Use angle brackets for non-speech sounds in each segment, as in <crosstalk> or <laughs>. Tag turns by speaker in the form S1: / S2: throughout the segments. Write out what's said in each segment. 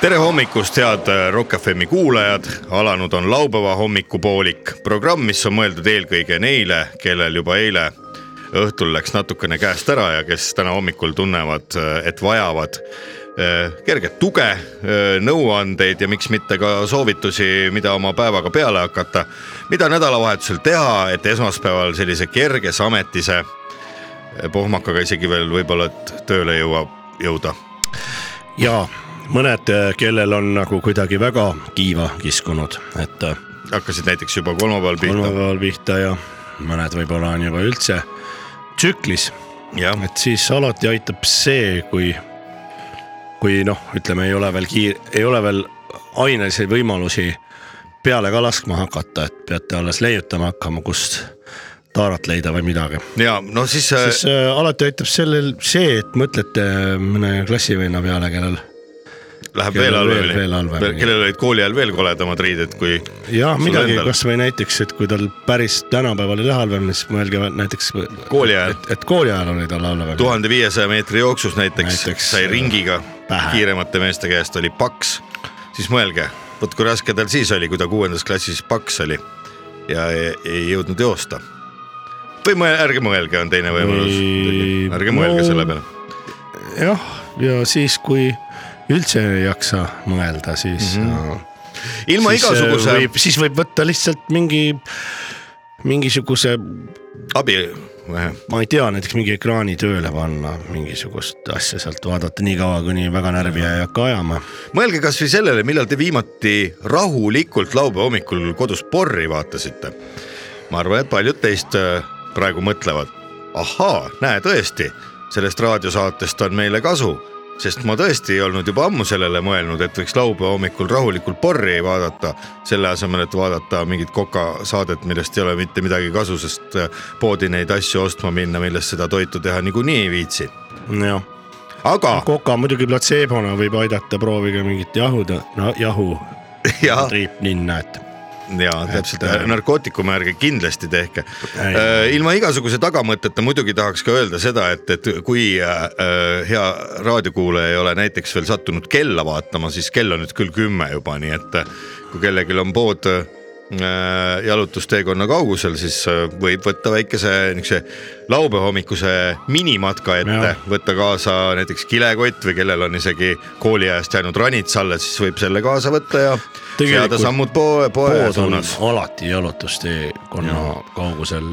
S1: tere hommikust , head Rock FM-i kuulajad , alanud on laupäeva hommikupoolik , programm , mis on mõeldud eelkõige neile , kellel juba eile õhtul läks natukene käest ära ja kes täna hommikul tunnevad , et vajavad eh, kerget tuge , nõuandeid ja miks mitte ka soovitusi , mida oma päevaga peale hakata , mida nädalavahetusel teha , et esmaspäeval sellise kerge sametise eh, pohmakaga isegi veel võib-olla , et tööle jõuab , jõuda
S2: ja mõned , kellel on nagu kuidagi väga kiiva kiskunud , et äh,
S1: hakkasid näiteks juba kolmapäeval pihta .
S2: kolmapäeval pihta ja mõned võib-olla on juba üldse tsüklis ,
S1: jah ,
S2: et siis alati aitab see , kui , kui noh , ütleme , ei ole veel kiir- , ei ole veel ainelisi võimalusi peale ka laskma hakata , et peate alles leiutama hakkama , kust taarat leida või midagi .
S1: ja no siis, eh,
S2: siis
S1: siis
S2: äh, alati aitab sellel see , et mõtlete äh, mõne klassivenna peale , kellel
S1: läheb
S2: kellel
S1: veel
S2: veel-
S1: halvemini
S2: veel halvemini. ,
S1: kellel olid kooli ajal veel koledamad riided kui
S2: jah ,
S1: Sul
S2: midagi
S1: endal.
S2: kasvõi näiteks , et kui tal päris tänapäeval ei lähe halvemini , siis mõelge näiteks .
S1: Kooli ajal.
S2: et, et kooli ajal oli tal halvemini .
S1: tuhande viiesaja meetri jooksus näiteks, näiteks
S2: Näiteks,
S1: sai
S2: äh,
S1: ringiga
S2: pähe.
S1: kiiremate meeste käest oli paks , siis mõelge , vot kui raske tal siis oli , kui ta kuuendas klassis paks oli ja ei, ei jõudnud joosta . või mõelge , ärge mõelge , on teine võimalus
S2: Ei, ,
S1: ärge mõelge
S2: no-
S1: selle peale .
S2: jah , ja siis , kui üldse ei jaksa mõelda , siis mm . -hmm.
S1: Mhm. ilma
S2: siis, äh,
S1: igasuguse
S2: võib, . siis võib võtta lihtsalt mingi , mingisuguse ,
S1: abi ,
S2: ma ei tea , näiteks mingi ekraani tööle panna , mingisugust asja sealt vaadata nii kaua , kuni väga närvi ei hakka ajama .
S1: mõelge kasvõi sellele , millal te viimati rahulikult laupäeva hommikul kodus porri vaatasite . ma arvan , et paljud teist äh, praegu mõtlevad , ahaa , näe tõesti , sellest raadiosaatest on meile kasu , sest ma tõesti ei olnud juba ammu sellele mõelnud , et võiks laupäeva hommikul rahulikult porri vaadata , selle asemel , et vaadata mingit kokasaadet , millest ei ole mitte midagi kasu , sest äh, poodi neid asju ostma minna , millest seda toitu teha niikuinii ei viitsi .
S2: jah
S1: aga
S2: koka muidugi platseebona võib aidata , proovige mingit jahude , jahu
S1: jah ,
S2: triipninna , et
S1: ja täpselt
S2: äh, ,
S1: narkootikume ärge kindlasti tehke Äh,
S2: Ei. .
S1: ilma igasuguse tagamõteta muidugi tahaks ka öelda seda , et , et kui äh, äh, hea raadiokuulaja ei ole näiteks veel sattunud kella vaatama , siis kell on nüüd küll kümme juba , nii et äh, kui kellelgi on pood äh, jalutusteekonna kaugusel , siis äh, võib võtta väikese niisuguse laupäeva hommikuse minimatka ette
S2: Jah. ,
S1: võtta kaasa näiteks kilekott või kellel on isegi kooliajast jäänud ranits alles , siis võib selle kaasa võtta ja seada
S2: Tegelikult
S1: sammud poe , poe
S2: pood on
S1: suunas .
S2: alati jalutusteekonna kaugusel .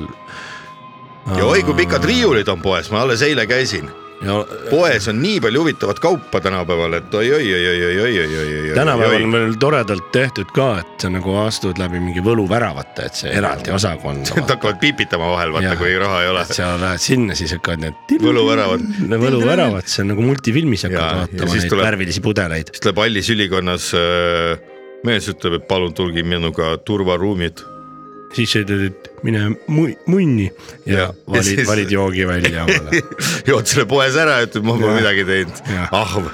S1: ja oi kui pikad riiulid on poes , ma alles eile käisin .
S2: ja
S1: poes on nii palju huvitavat kaupa tänapäeval , et oi-oi-oi-oi-oi-oi-oi-oi-oi .
S2: tänapäeval on veel toredalt tehtud ka , et sa nagu astud läbi mingi võluväravate , et see eraldi osakond .
S1: <laughs> Nad hakkavad piipitama vahel , vaata kui raha ei ole .
S2: sa lähed sinna , siis hakkad need .
S1: Võluväravad. .
S2: võluväravad , see on nagu multifilmis
S1: Jaa,
S2: hakkad
S1: ja
S2: vaatama
S1: siis
S2: neid
S1: tuleb-
S2: värvilisi pudeleid .
S1: siis tuleb Allis ülikonnas äh, mees ütleb , et palun tulge minuga turvaruumid . <laughs>
S2: siis sa ütled , et mine mu- munni
S1: Ja-
S2: ja
S1: ja
S2: valid
S1: siis- ,
S2: valid joogi välja omale
S1: jood selle poes ära ja ütled , ma pole
S2: Jah.
S1: midagi teinud
S2: Jah. .
S1: ahv .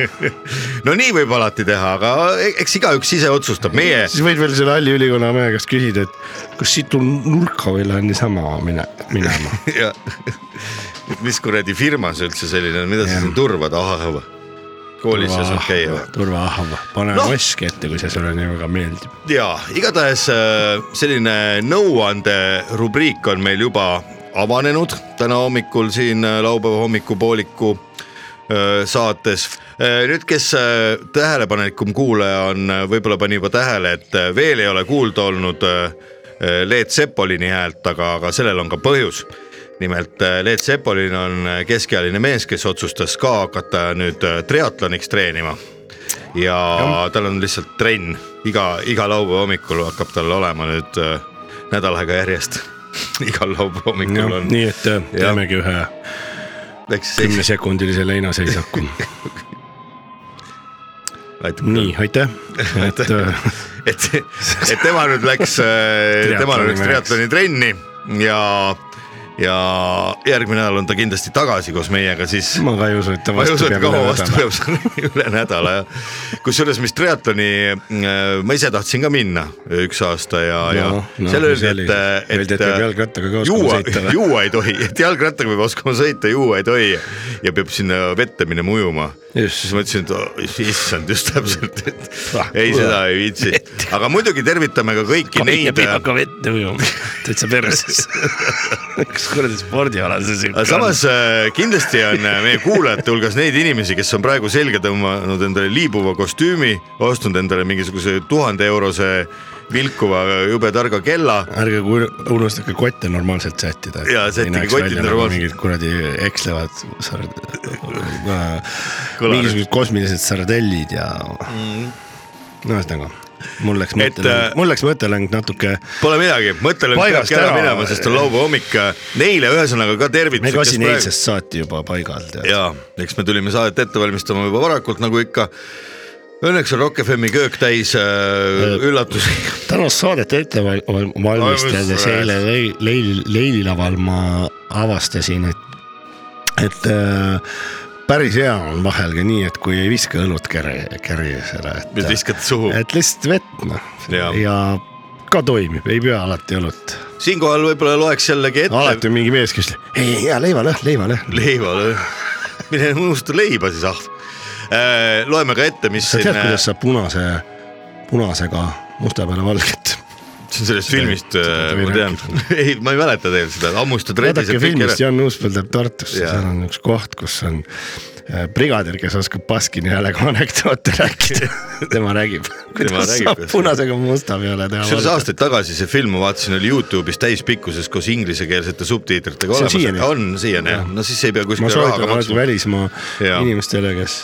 S1: <laughs> no nii võib alati teha , aga e- eks igaüks ise otsustab , meie
S2: siis võid veel selle halli ülikonna mehe käest küsida , et kas siit on nurka või lähen niisama mine , minema .
S1: <laughs> ja mis kuradi firma see üldse selline on , mida sa
S2: Jah.
S1: siin turvad , ahv . koolis ei saanud käia või ?
S2: turvaahv , pane
S1: Noh.
S2: no. mask ette , kui see sulle nii väga meeldib .
S1: ja igatahes äh, selline nõuanderubriik on meil juba avanenud täna hommikul siin äh, laupäeva hommikupooliku äh, saates . nüüd , kes äh, tähelepanelikum kuulaja on , võib-olla pani juba tähele , et äh, veel ei ole kuulda olnud äh, äh, Leet Sepolini häält , aga , aga sellel on ka põhjus . nimelt äh, Leet Sepolin on äh, keskealine mees , kes otsustas ka hakata nüüd äh, triatloniks treenima ja tal on lihtsalt trenn iga , iga laupäeva hommikul hakkab tal olema nüüd äh, nädal aega järjest . <laughs> igal laupäeva hommikul
S2: No,
S1: on .
S2: nii et äh,
S1: Jah.
S2: teemegi ühe
S1: eks siis ,
S2: kümnesekundilise
S1: <laughs>
S2: leinaseisaku .
S1: aitab küll .
S2: nii , aitäh , et äh,
S1: et , et tema nüüd läks , tema nüüd läks <laughs> triatloni trenni ja , ja järgmine nädal on ta kindlasti tagasi koos meiega , siis
S2: ma ka ei usu , et ta
S1: ma ei usu , et kaua vastu
S2: nädala.
S1: peab , see on <laughs> üle nädala jah . kusjuures , mis triatloni , ma ise tahtsin ka minna üks aasta ja no, , ja
S2: No, no,
S1: seal
S2: mis
S1: öeldi ,
S2: oli?
S1: et , et .
S2: Öeldi, et peab jalgrattaga ka oskama
S1: juua,
S2: sõita
S1: <laughs>
S2: või?
S1: juua ei tohi , et jalgrattaga peab oskama sõita , juua ei tohi ja peab sinna vette minema ujuma .
S2: Just.
S1: siis ma ütlesin , et oh, issand just täpselt , et
S2: Ah,
S1: ei , seda ei viitsi ,
S2: <laughs>
S1: aga muidugi tervitame ka kõiki neid
S2: ei hakka vette ujuma , täitsa perses .
S1: <laughs>
S2: üks kuradi spordiala see siuke
S1: aga samas äh, kindlasti on äh, meie kuulajate hulgas neid inimesi , kes on praegu selga tõmmanud endale liibuva kostüümi , ostnud endale mingisuguse tuhande eurose vilkuva äh, jube targa kella
S2: on. ärge ku- unustage kotte normaalselt sättida .
S1: Jaa, sättige kotid normaalselt.
S2: nagu mingid kuradi ekslevad
S1: <laughs>
S2: sard- ,
S1: Kõlarid. Mhm.
S2: mingisugused kosmilised sardellid ja mm. . no ühesõnaga , mul läks
S1: Et, äh,
S2: mõttelõng , mul läks mõttelõng natuke ,
S1: Pole midagi , mõttelõng
S2: Paigast
S1: peabki ära
S2: ära.
S1: minema , sest on laupäeva hommik . Neile ühesõnaga ka
S2: me
S1: tervitused .
S2: kassin eilsest saati juba paigal tead .
S1: ja eks me tulime saadet ette valmistama juba varakult , nagu ikka . Õnneks on Rock FM-i köök täis äh, <laughs> üllatusi .
S2: tänast saadet ette val- val- valmistades
S1: Valmistades.
S2: eile leil- , leil- , leililaval ma avastasin , et , et äh, päris hea on vahel ka nii , et kui ei viska õlut kere , kerjusele ,
S1: nüüd
S2: et ,
S1: viskad suhu .
S2: et lihtsalt vett noh ,
S1: Jaa.
S2: ja ka toimib , ei pea alati õlut .
S1: siinkohal võib-olla loeks jällegi ette
S2: alati on mingi mees , kes , ei , hea leivalõhn , leivalõhn .
S1: leiva , mine unusta leiba siis , ah . loeme ka ette , mis
S2: sa
S1: siin , äh,
S2: tead , kuidas
S1: see
S2: sa punase , punasega musta peale valget
S1: on sellest filmist ,
S2: seda
S1: ma
S2: võin
S1: tean , <laughs> ei , ma ei mäleta teil seda , hammustad redis
S2: vaadake
S1: ja kõik
S2: filmist
S1: ära .
S2: Jan Uuspõld läheb Tartusse ,
S1: Jaa.
S2: seal on üks koht , kus on äh, brigadir , kes oskab Baskini häälega anekdoote
S1: <laughs>
S2: rääkida . tema räägib , kuidas
S1: räägib,
S2: saab
S1: kuidas-
S2: punasega musta peale teha .
S1: kusjuures aastaid tagasi see film ma vaatasin , oli Youtube'is täispikkuses koos inglisekeelsete subtiitritega
S2: See on
S1: olemas ,
S2: siiani.
S1: aga on siiani jah , no siis ei pea
S2: ma
S1: kuskile raha
S2: soovitan
S1: ka
S2: alati
S1: maksma .
S2: välismaa
S1: Jaa.
S2: inimestele , kes .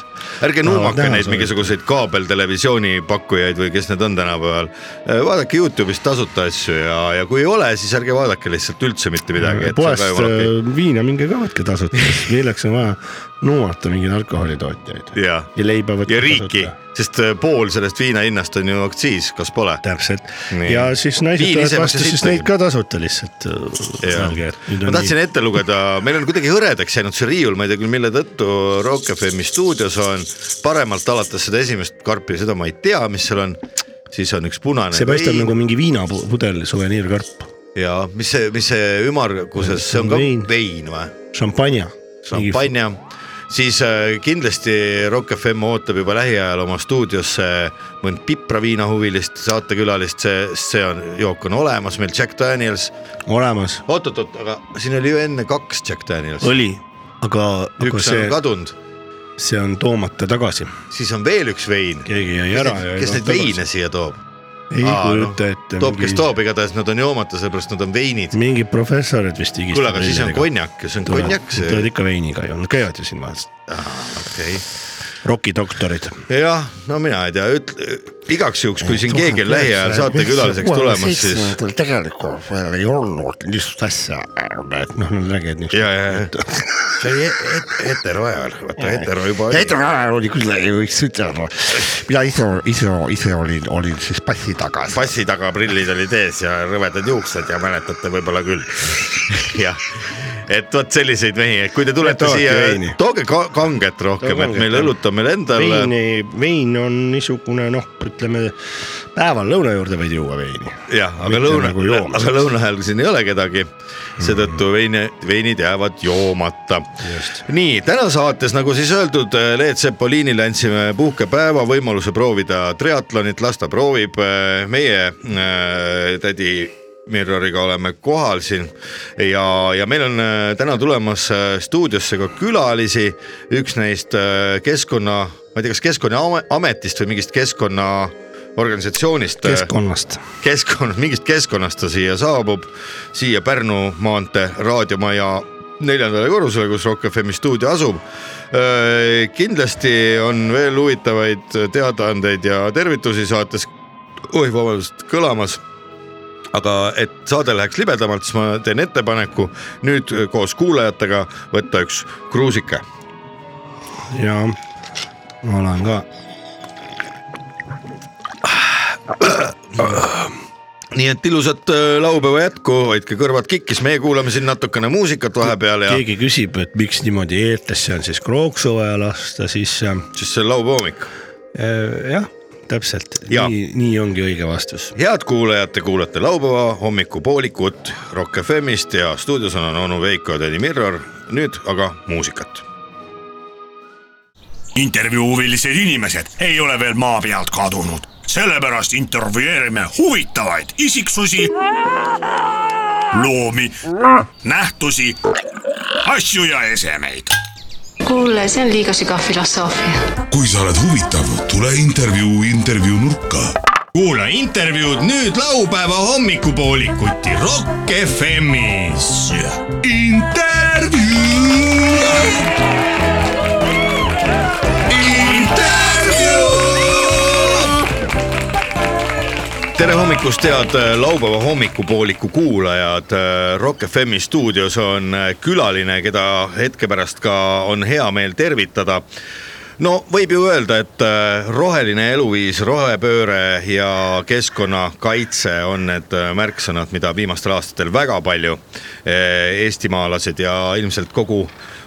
S1: ärge nuumake neid
S2: mingisugust .
S1: mingisuguseid kaabeltelevisiooni pakkujaid või kes need on tänapäeval . vaadake Youtube'ist tasuta asju ja , ja kui ei ole , siis ärge vaadake lihtsalt üldse mitte midagi .
S2: poest äh, viina minge ka võtke tasuta ,
S1: <laughs>
S2: sest milleks on vaja nuumata mingeid alkoholitootjaid .
S1: Jaa.
S2: ja leiba võtke
S1: ja riiki , sest äh, pool sellest viina hinnast on ju aktsiis , kas pole ?
S2: täpselt
S1: Nii.
S2: ja siis naised
S1: Viin ise
S2: tulevad
S1: maksab
S2: vastu , siis
S1: sittagi.
S2: neid ka tasuta lihtsalt . äh,
S1: ma tahtsin ette lugeda , meil on kuidagi hõredaks jäänud see riiul , ma ei tea küll , mille tõttu Rock FM-i stuudios on paremalt alates seda esimest karpi , seda ma ei tea , mis seal on . siis on üks punane
S2: see paistab nagu mingi viinapudel , suveniirkarp ,
S1: ja mis see , mis see ümmarguses , see on ka
S2: Vein.
S1: vein või ?
S2: šampanja .
S1: šampanja , siis äh, kindlasti Rock FM ootab juba lähiajal oma stuudiosse mõnd pipraviinahuvilist saatekülalist , see , see on , jook on olemas meil Jack Daniels .
S2: olemas ,
S1: oot-oot-oot , aga siin oli ju enne kaks Jack Daniels ,
S2: oli , aga , aga
S1: üks see...
S2: see
S1: on , kadunud ,
S2: see on toomata tagasi .
S1: siis on veel üks vein .
S2: keegi jäi ära ja .
S1: kes neid veine ? siia toob ?
S2: ei kujuta ette .
S1: toob , kes toob , igatahes nad on joomata , sellepärast nad on veinid .
S2: mingid professorid vist higistasid .
S1: kuule , aga siis on . konjak , see on konjak
S2: tulevad
S1: see ,
S2: ikka veiniga ju , nad käivad ju siin vahel ,
S1: okei
S2: rokidoktorid .
S1: jah , no mina ei tea , ütle igaks juhuks , kui siin keegi on lähiajal saatekülaliseks tulemas , siis .
S2: tegelikult veel ei olnud niisugust asja , noh , nad räägivad niisugust .
S1: ja , ja , ja see oli hetero ajal , vaata hetero juba oli .
S3: Hendrik Rae oli küll , ei võiks ütelda . mina ise , ise , ise olin , olin siis passi taga .
S1: passi taga prillid olid ees ja rõvedad juuksed ja mäletate võib-olla küll . <laughs> jah , et vot selliseid mehi , et kui te tulete
S2: Tooge
S1: siia
S2: veini. ,
S1: tooge ka- kanget rohkem ,
S2: Tooge
S1: et meil
S2: kanget,
S1: õlut on meil endal .
S2: veini , vein on niisugune noh , ütleme päeval lõuna juurde võid juua veini .
S1: jah , aga
S2: mitte
S1: lõuna
S2: nagu Mm. joomas. ,
S1: aga lõuna ajal siin ei ole kedagi , seetõttu veine , veinid jäävad joomata . nii täna saates , nagu siis öeldud , Leet Sepoliinile andsime puhkepäeva võimaluse proovida triatlonit , las ta proovib . meie äh, tädi Mirroriga oleme kohal siin ja , ja meil on äh, täna tulemas äh, stuudiosse ka külalisi , üks neist äh, keskkonna , ma ei tea , kas Keskkonnaametist või mingist keskkonnaorganisatsioonist äh,
S2: keskkonnast .
S1: keskkonnast , mingist keskkonnast ta siia saabub , siia Pärnu maantee raadiomaja neljandale korrusele , kus Rock FM-i stuudio asub . kindlasti on veel huvitavaid teadaandeid ja tervitusi saates , oih vabandust , kõlamas aga et saade läheks libedamalt , siis ma teen ettepaneku nüüd koos kuulajatega võtta üks kruusike .
S2: ja ma olen ka .
S1: nii et ilusat äh, laupäeva jätku , hoidke kõrvad kikkis , meie kuulame siin natukene muusikat vahepeal ja
S2: keegi küsib , et miks niimoodi eetrisse on siis krooksu vaja lasta , siis äh,
S1: siis see on laupäeva hommik .
S2: jah , täpselt ,
S1: Jaa.
S2: nii , nii ongi õige vastus .
S1: head kuulajad , te kuulate laupäeva hommikupoolikut Rock FM-ist ja stuudios on onu Veiko ja tädi Mirror . nüüd aga muusikat .
S4: intervjuu huvilised inimesed ei ole veel maa pealt kadunud , sellepärast intervjueerime huvitavaid isiksusi , loomi , nähtusi , asju ja esemeid .
S5: kuule , see on liiga sügav filosoofia .
S6: kui sa oled huvitav , tule intervjuu intervjuu nurka
S7: kuula intervjuud nüüd laupäeva hommikupoolikuti Rock FM-is .
S1: tere hommikust , head äh, laupäeva hommikupooliku kuulajad . Rock FM-i stuudios on äh, külaline , keda hetke pärast ka on hea meel tervitada no võib ju öelda , et äh, roheline eluviis , rohepööre ja keskkonnakaitse on need äh, märksõnad , mida viimastel aastatel väga palju eh, eestimaalased ja ilmselt kogu ,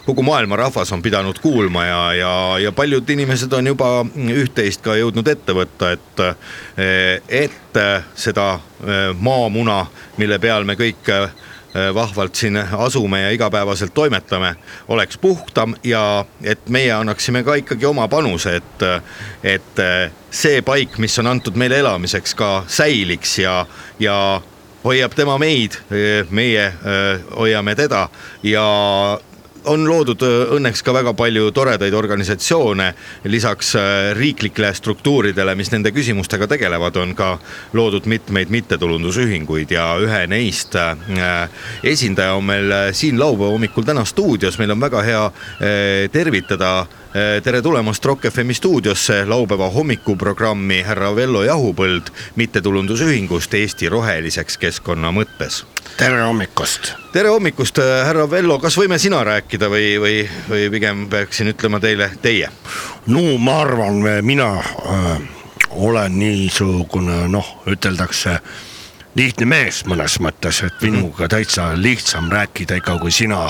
S1: kogu maailma rahvas on pidanud kuulma ja , ja , ja paljud inimesed on juba üht-teist ka jõudnud ette võtta , et , et äh, seda eh, maamuna , mille peal me kõik eh, vahvalt siin asume ja igapäevaselt toimetame , oleks puhtam ja et meie annaksime ka ikkagi oma panuse , et , et äh, see paik , mis on antud meile elamiseks , ka säiliks ja , ja hoiab tema meid , meie öö, hoiame teda ja on loodud öö, õnneks ka väga palju toredaid organisatsioone , lisaks öö, riiklikele struktuuridele , mis nende küsimustega tegelevad , on ka loodud mitmeid mittetulundusühinguid ja ühe neist äh, esindaja on meil äh, siin laupäeva hommikul täna stuudios , meil on väga hea äh, tervitada . tere tulemast Rock FM-i stuudiosse laupäeva hommikuprogrammi härra Vello Jahupõld mittetulundusühingust Eesti roheliseks keskkonna mõttes
S3: tere hommikust .
S1: tere hommikust , härra Vello , kas võime sina rääkida või , või , või pigem peaksin ütlema teile teie ?
S2: no ma arvan , mina äh, olen niisugune noh , üteldakse lihtne mees mõnes mõttes , et minuga täitsa lihtsam rääkida ikka kui sina ,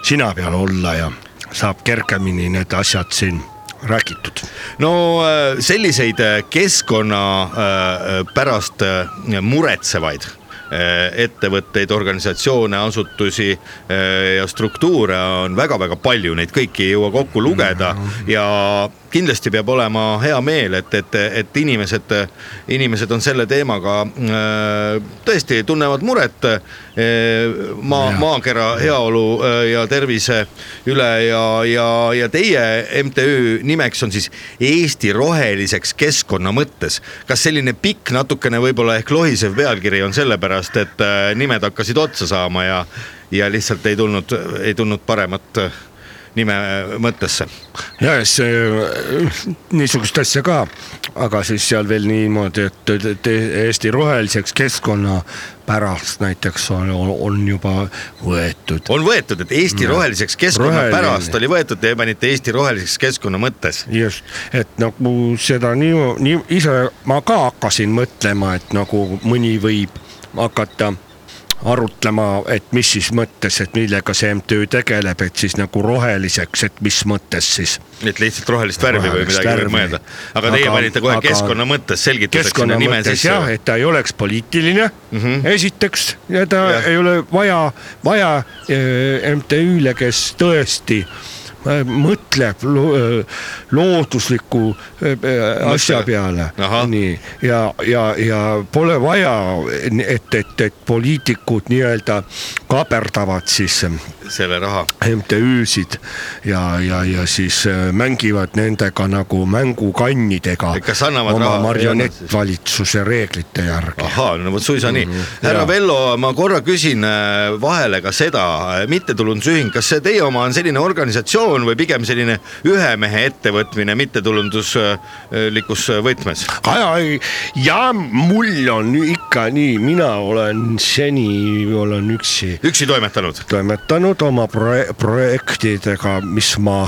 S2: sina peal olla ja saab kergemini need asjad siin räägitud .
S1: no äh, selliseid äh, keskkonna äh, pärast äh, muretsevaid äh, ettevõtteid , organisatsioone , asutusi äh, ja struktuure on väga-väga palju , neid kõiki ei jõua kokku lugeda ja kindlasti peab olema hea meel , et , et , et inimesed , inimesed on selle teemaga äh, tõesti tunnevad muret äh, eh, maa , maakera heaolu äh, ja tervise üle ja , ja , ja teie MTÜ nimeks on siis Eesti roheliseks keskkonna mõttes . kas selline pikk , natukene võib-olla ehk lohisev pealkiri on sellepärast , et äh, nimed hakkasid otsa saama ja , ja lihtsalt ei tulnud , ei tulnud paremat äh, nime eh, mõttesse
S2: ja ja see äh, niisugust asja ka , aga siis seal veel niimoodi , et te- te- Eesti roheliseks keskkonna pärast näiteks on, on juba võetud .
S1: on võetud , et Eesti roheliseks keskkonna
S2: Roheline.
S1: Roheline. pärast oli võetud , te panite Eesti roheliseks keskkonna mõttes .
S2: just , et nagu seda nii, nii ise ma ka hakkasin mõtlema , et nagu mõni võib hakata arutlema , et mis siis mõttes , et millega see MTÜ tegeleb , et siis nagu roheliseks , et mis mõttes siis .
S1: et lihtsalt rohelist värvi või
S2: Rohelist
S1: midagi võib
S2: värvi.
S1: mõelda . aga teie
S2: Aga-
S1: panite kohe
S2: aga-
S1: keskkonna mõttes selgituseks
S2: keskkonna
S1: sinna nime
S2: mõttes jah ,
S1: sisse .
S2: et ta ei oleks poliitiline mm , -hmm. esiteks , ja ta
S1: Jah.
S2: ja. ei ole vaja , vaja eh, MTÜ-le , kes tõesti eh, mõtleb lo- eh, loodusliku eh, eh, asja peale
S1: Ahah. ,
S2: nii ja , ja , ja pole vaja , et , et , et poliitikud nii-öelda kaaperdavad siis eh,
S1: selle raha .
S2: MTÜ-sid ja , ja , ja siis äh, mängivad nendega nagu mängukannidega .
S1: Kas annavad
S2: oma
S1: raha-
S2: marionettvalitsuse reeglite järgi .
S1: ahaa , no vot suisa
S2: Mhm,
S1: nii . härra Vello , ma korra küsin äh, vahele ka seda , mittetulundusühing , kas see teie oma on selline organisatsioon või pigem selline ühe mehe ettevõtmine mittetulunduslikus äh, võtmes ?
S2: ja , ja mul on ikka nii , mina olen seni , olen üksi
S1: üksi toimetanud ?
S2: toimetanud oma proje- projektidega , mis ma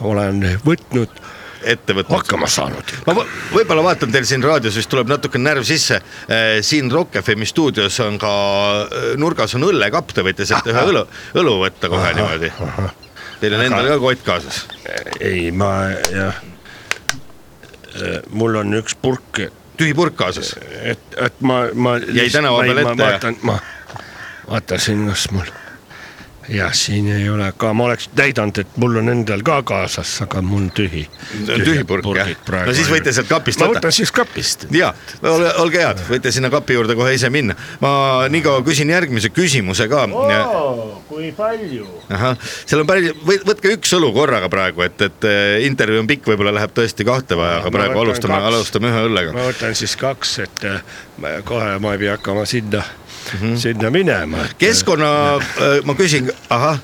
S2: olen võtnud
S1: ette võtnud .
S3: hakkama saanud .
S1: ma võ- võib-olla vaatan teil siin raadios vist tuleb natuke närv sisse . siin Rock FM stuudios on ka eh, nurgas on õllekapp , te võite sealt ühe õlu , õlu võtta kohe niimoodi . Teil on endal ka kott kaasas .
S2: ei , ma jah , mul on üks purk ,
S1: tühi purk kaasas .
S2: et , et ma , ma .
S1: Jäi tänava peal ette, jah?
S2: vaatan , ma vaatasin , kas mul , jah , siin ei ole ka , ma oleks näidanud , et mul on endal ka kaasas , aga mul tühi .
S1: tühi purk jah . no siis võite sealt kapist
S2: ma
S1: võtta
S2: võtan . siis kapist .
S1: ja , ole , olge head , võite sinna kapi juurde kohe ise minna . ma niikaua küsin järgmise küsimuse ka .
S2: kui palju ?
S1: ahah , seal on päris , võtke üks õlu korraga praegu , et , et eh, intervjuu on pikk , võib-olla läheb tõesti kahte vaja , aga
S2: Ma
S1: praegu
S2: võtan
S1: alustame ,
S2: kaks.
S1: alustame ühe õllega .
S2: ma võtan siis kaks , et äh, ma- kohe ma ei pea hakkama sinna mm ,
S1: Mhm.
S2: -hmm. sinna minema .
S1: keskkonna , ma küsin , ahah ,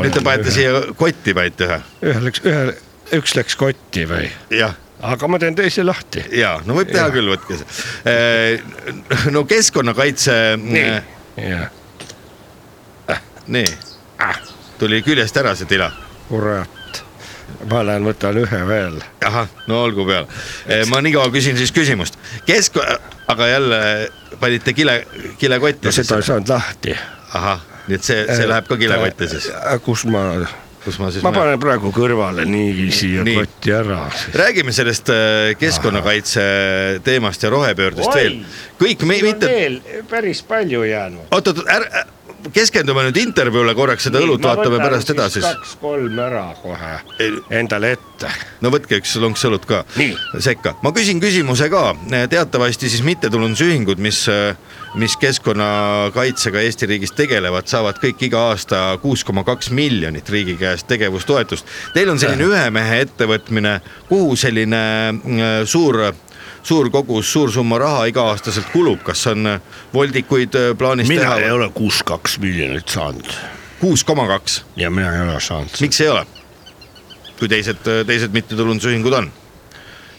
S1: nüüd te panete siia kotti panite ühe ,
S2: ühel läks , ühel , üks läks kotti või ?
S1: jah
S2: aga ma teen teise lahti .
S1: ja no võib teha küll , võtke see . no keskkonnakaitse . nii,
S2: jah ,
S1: nii. , Ah. tuli küljest ära see tila ,
S2: kurat . ma lähen võtan ühe veel .
S1: ahah , no olgu peale . ma niikaua küsin siis küsimust , kesk , aga jälle panite kile , kilekotti
S2: no seda ei
S1: siis ,
S2: saanud lahti .
S1: ahah , nii et see , see läheb ka kilekotti siis ,
S2: Äh, kus ma ,
S1: kus ma siis
S2: ma . panen praegu kõrvale niiviisi ja
S1: Nii.
S2: nii. kotti ära .
S1: räägime sellest äh, keskkonnakaitse teemast ja rohepöördest Oi, veel . kõik me , mitte ,
S2: päris palju jäänud .
S1: oot-oot , ära , keskendume nüüd intervjuule korraks , seda õlut vaatame pärast edasi siis .
S2: kaks-kolm ära kohe
S1: Ei-
S2: endale ette .
S1: no võtke üks lonks õlut ka
S2: Nii.
S1: sekka . ma küsin küsimuse ka , teatavasti siis mittetulundusühingud , mis , mis keskkonnakaitsega Eesti riigis tegelevad , saavad kõik iga aasta kuus koma kaks miljonit riigi käest tegevustoetust . Teil on selline ühe mehe ettevõtmine , kuhu selline mm, suur suur kogus , suur summa raha iga-aastaselt kulub , kas on eh, voldikuid äh, plaanis
S2: mina ei
S1: teha ?
S2: ole kuus-kaks miljonit saanud
S1: kuus koma kaks ,
S2: ja mina ei ole saanud .
S1: miks ei ole ? kui teised , teised mittetulundusühingud on .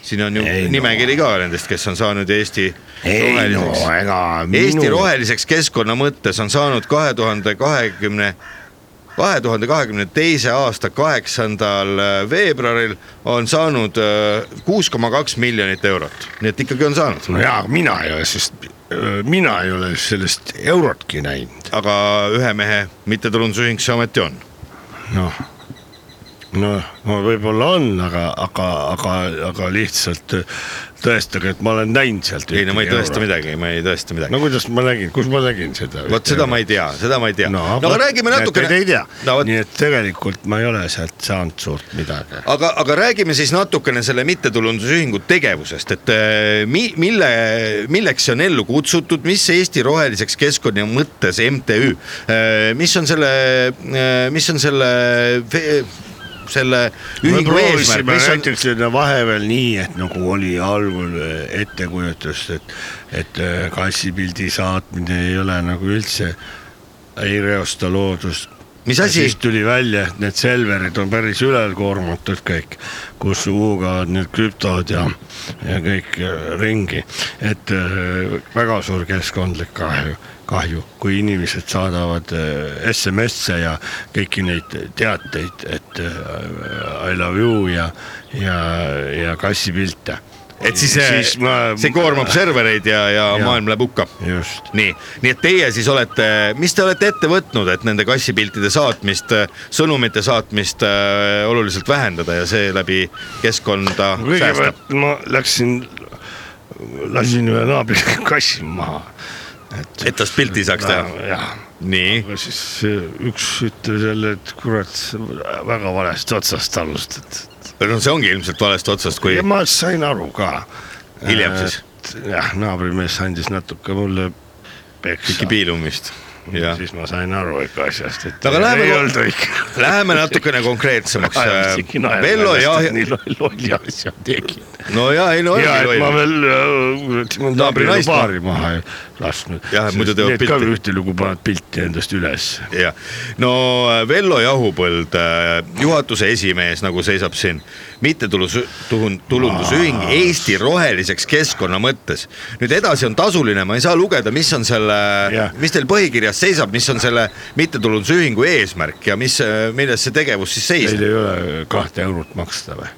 S1: siin on ju
S2: Ei,
S1: ei,
S2: no.
S1: nimekiri no. ka nendest , kes on saanud Eesti
S2: ei no
S1: roheliseks no, .
S2: ega
S1: Eesti
S2: minu
S1: roheliseks keskkonna mõttes on saanud kahe tuhande kahekümne , kahe tuhande kahekümne teise aasta kaheksandal äh, veebruaril on saanud äh, kuus koma kaks miljonit eurot , nii et ikkagi on saanud ,
S2: no jaa , mina ei ole , sest öö, mina ei ole sellest eurotki näinud ,
S1: aga ühe mehe mittetulundusühing see ometi on .
S2: noh . noh , no võib-olla on , aga , aga , aga , aga lihtsalt äh, tõestage , et ma olen näinud sealt .
S1: ei no ma ei tõesta . midagi , ma ei tõesta midagi
S2: no kuidas ma nägin , kus ma nägin seda ?
S1: vot seda ma ei tea , seda ma ei tea .
S2: no,
S1: no aga räägime natukene .
S2: ei tea
S1: no
S2: no, ,
S1: vot ,
S2: nii et tegelikult ma ei ole sealt saanud suurt midagi .
S1: aga , aga räägime siis natukene selle mittetulundusühingu tegevusest , et eh, mi, mille , milleks see on ellu kutsutud , mis Eesti Roheliseks Keskkonna mõttes MTÜ , äh, mis on selle , mis on selle , selle
S2: me
S1: ühingu eesmärk ,
S2: proovisime
S1: mis on ,
S2: näiteks sinna vahepeal nii , et nagu oli algul ettekujutus , et , et äh, kassipildi saatmine ei ole nagu üldse , ei reosta loodust .
S1: Mis asi?
S2: siis tuli välja , et need Selverid on päris ülekoormatud kõik , kus huugavad need krüptod ja , ja kõik äh, ringi , et äh, väga suur keskkondlik kahju kahju , kui inimesed saadavad äh, SMS-e ja kõiki neid teateid , et äh, I love you ja , ja , ja kassipilte .
S1: et siis, siis see koormab servereid ja , ja
S2: Jaa.
S1: maailm läheb hukka
S2: Äh, just ,
S1: nii , nii et teie siis olete , mis te olete ette võtnud , et nende kassipiltide saatmist , sõnumite saatmist äh, oluliselt vähendada ja seeläbi keskkonda säästa ?
S2: kõigepealt ma läksin , lasin ühe naabri <laughs> kassi maha . et
S1: et tast pilti saaks teha .
S2: jah ,
S1: nii ,
S2: aga siis äh, üks ütles jälle , et kurat , väga valest otsast alustad .
S1: no see ongi ilmselt valest otsast , kui
S2: ja ma sain aru ka .
S1: Hiljem siis? ?
S2: jah , naabrimees andis natuke mulle peksa
S1: mingi . piilumist . jah ,
S2: siis ma sain aru ikka asjast , et
S1: Aga läheme
S2: ei
S1: ko-
S2: olnud õige . <laughs>
S1: läheme natukene konkreetsemaks . Vello
S2: Vello
S1: ja ,
S2: nii loll- lolli asja tegin .
S1: no ja ei no .
S2: ja , et ma veel äh,
S1: naist
S2: naabrinaist paari maha ei lasknud .
S1: Jah, et muidu teevad pilti.
S2: ühtelugu panevad pilti endast üles .
S1: jah , no äh, Vello Jahupõld , juhatuse esimees , nagu seisab siin , mittetulus- , tulundusühing Eesti roheliseks keskkonna mõttes . nüüd edasi on tasuline , ma ei saa lugeda , mis on selle
S2: Jah. ,
S1: mis teil põhikirjas seisab , mis on selle mittetulundusühingu eesmärk ja mis , äh, milles see tegevus siis
S2: Teil
S1: seisneb ?
S2: ei ole kahte eurot maksta või ?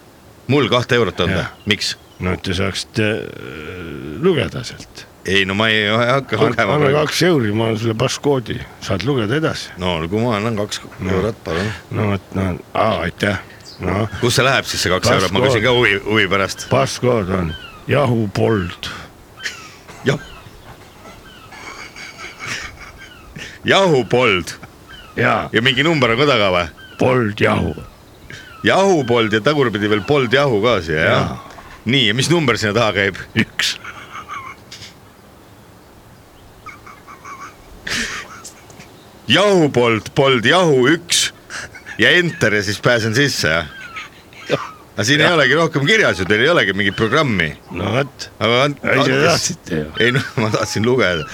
S1: mul kahte eurot anda
S2: Jah. ,
S1: miks ?
S2: no et te saaksite äh, lugeda sealt .
S1: ei no ma ei ei hakka lugema
S2: anna
S1: praegu .
S2: kaks euri , ma annan sulle passkoodi , saad lugeda edasi .
S1: no olgu , ma annan kaks eurot , palun .
S2: no vot , no aa, aitäh , noh ,
S1: kus see läheb siis see kaks eurot , ma küsin ka huvi , huvi pärast .
S2: passkood on jahupold .
S1: jah . jahupold
S2: jaa ,
S1: ja mingi number on ka taga või ?
S2: pold jahu ,
S1: jahupold ja tagurpidi veel pold jahu ka siia , jah ? nii , ja mis number sinna taha käib ?
S2: üks .
S1: jahupold , pold jahu üks ja enter ja siis pääsen sisse , jah ? aga siin ja. ei olegi rohkem kirjas ju , teil ei olegi mingit programmi .
S2: no vot ,
S1: aga and-
S2: ise
S1: andke-
S2: tahtsite ju .
S1: ei noh , ma tahtsin lugeda .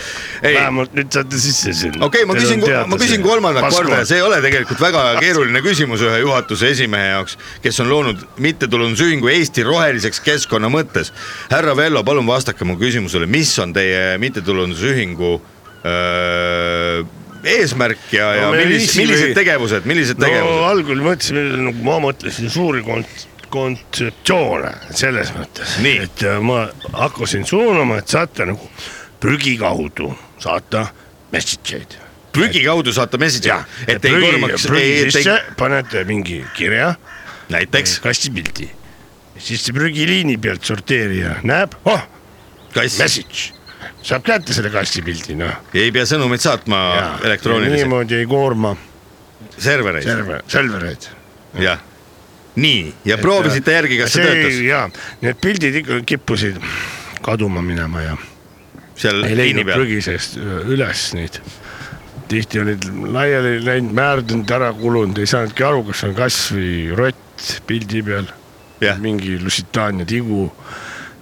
S1: ei ,
S2: vähemalt nüüd saate sisse sinna .
S1: okei okay, , ma küsin , ma küsin kolmandat korda ja see ei ole tegelikult väga keeruline küsimus ühe juhatuse esimehe jaoks , kes on loonud mittetulundusühingu Eesti roheliseks keskkonna mõttes . härra Vello , palun vastake mu küsimusele , mis on teie mittetulundusühingu öö, eesmärk ja , ja
S2: No me
S1: millised ,
S2: viisime-
S1: millised tegevused , millised
S2: no
S1: tegevused ?
S2: algul mõtlesime , nagu ma mõtlesin , suuri kont- , kontseptsioone selles mõttes .
S1: Nii.
S2: et äh, ma hakkasin suunama , et saata nagu prügi kaudu saata message eid
S1: prügi kaudu saata message'i
S2: jah ,
S1: et ei koormaks ,
S2: prügi
S1: ei ,
S2: sisse panete mingi kirja ,
S1: näiteks
S2: kastipildi . siis see prügiliini pealt sorteerija näeb , oh ,
S1: kass ,
S2: message , saab kätte selle kastipildi , noh .
S1: ei pea sõnumeid saatma Ah, elektrooniliselt ,
S2: niimoodi ei koorma
S1: servereid ,
S2: server , servereid .
S1: jah . nii , ja
S2: äh,
S1: proovisite järgi , kas see töötas ?
S2: jaa , need pildid ikka kippusid kaduma minema ja
S1: seal
S2: ei
S1: liini
S2: leidnud
S1: peal .
S2: prügi seest üles neid . tihti olid laiali läinud , määrdunud , ära kulunud , ei saanudki aru , kas on kass või rott pildi peal
S1: jah ,
S2: mingi Lusitaania tigu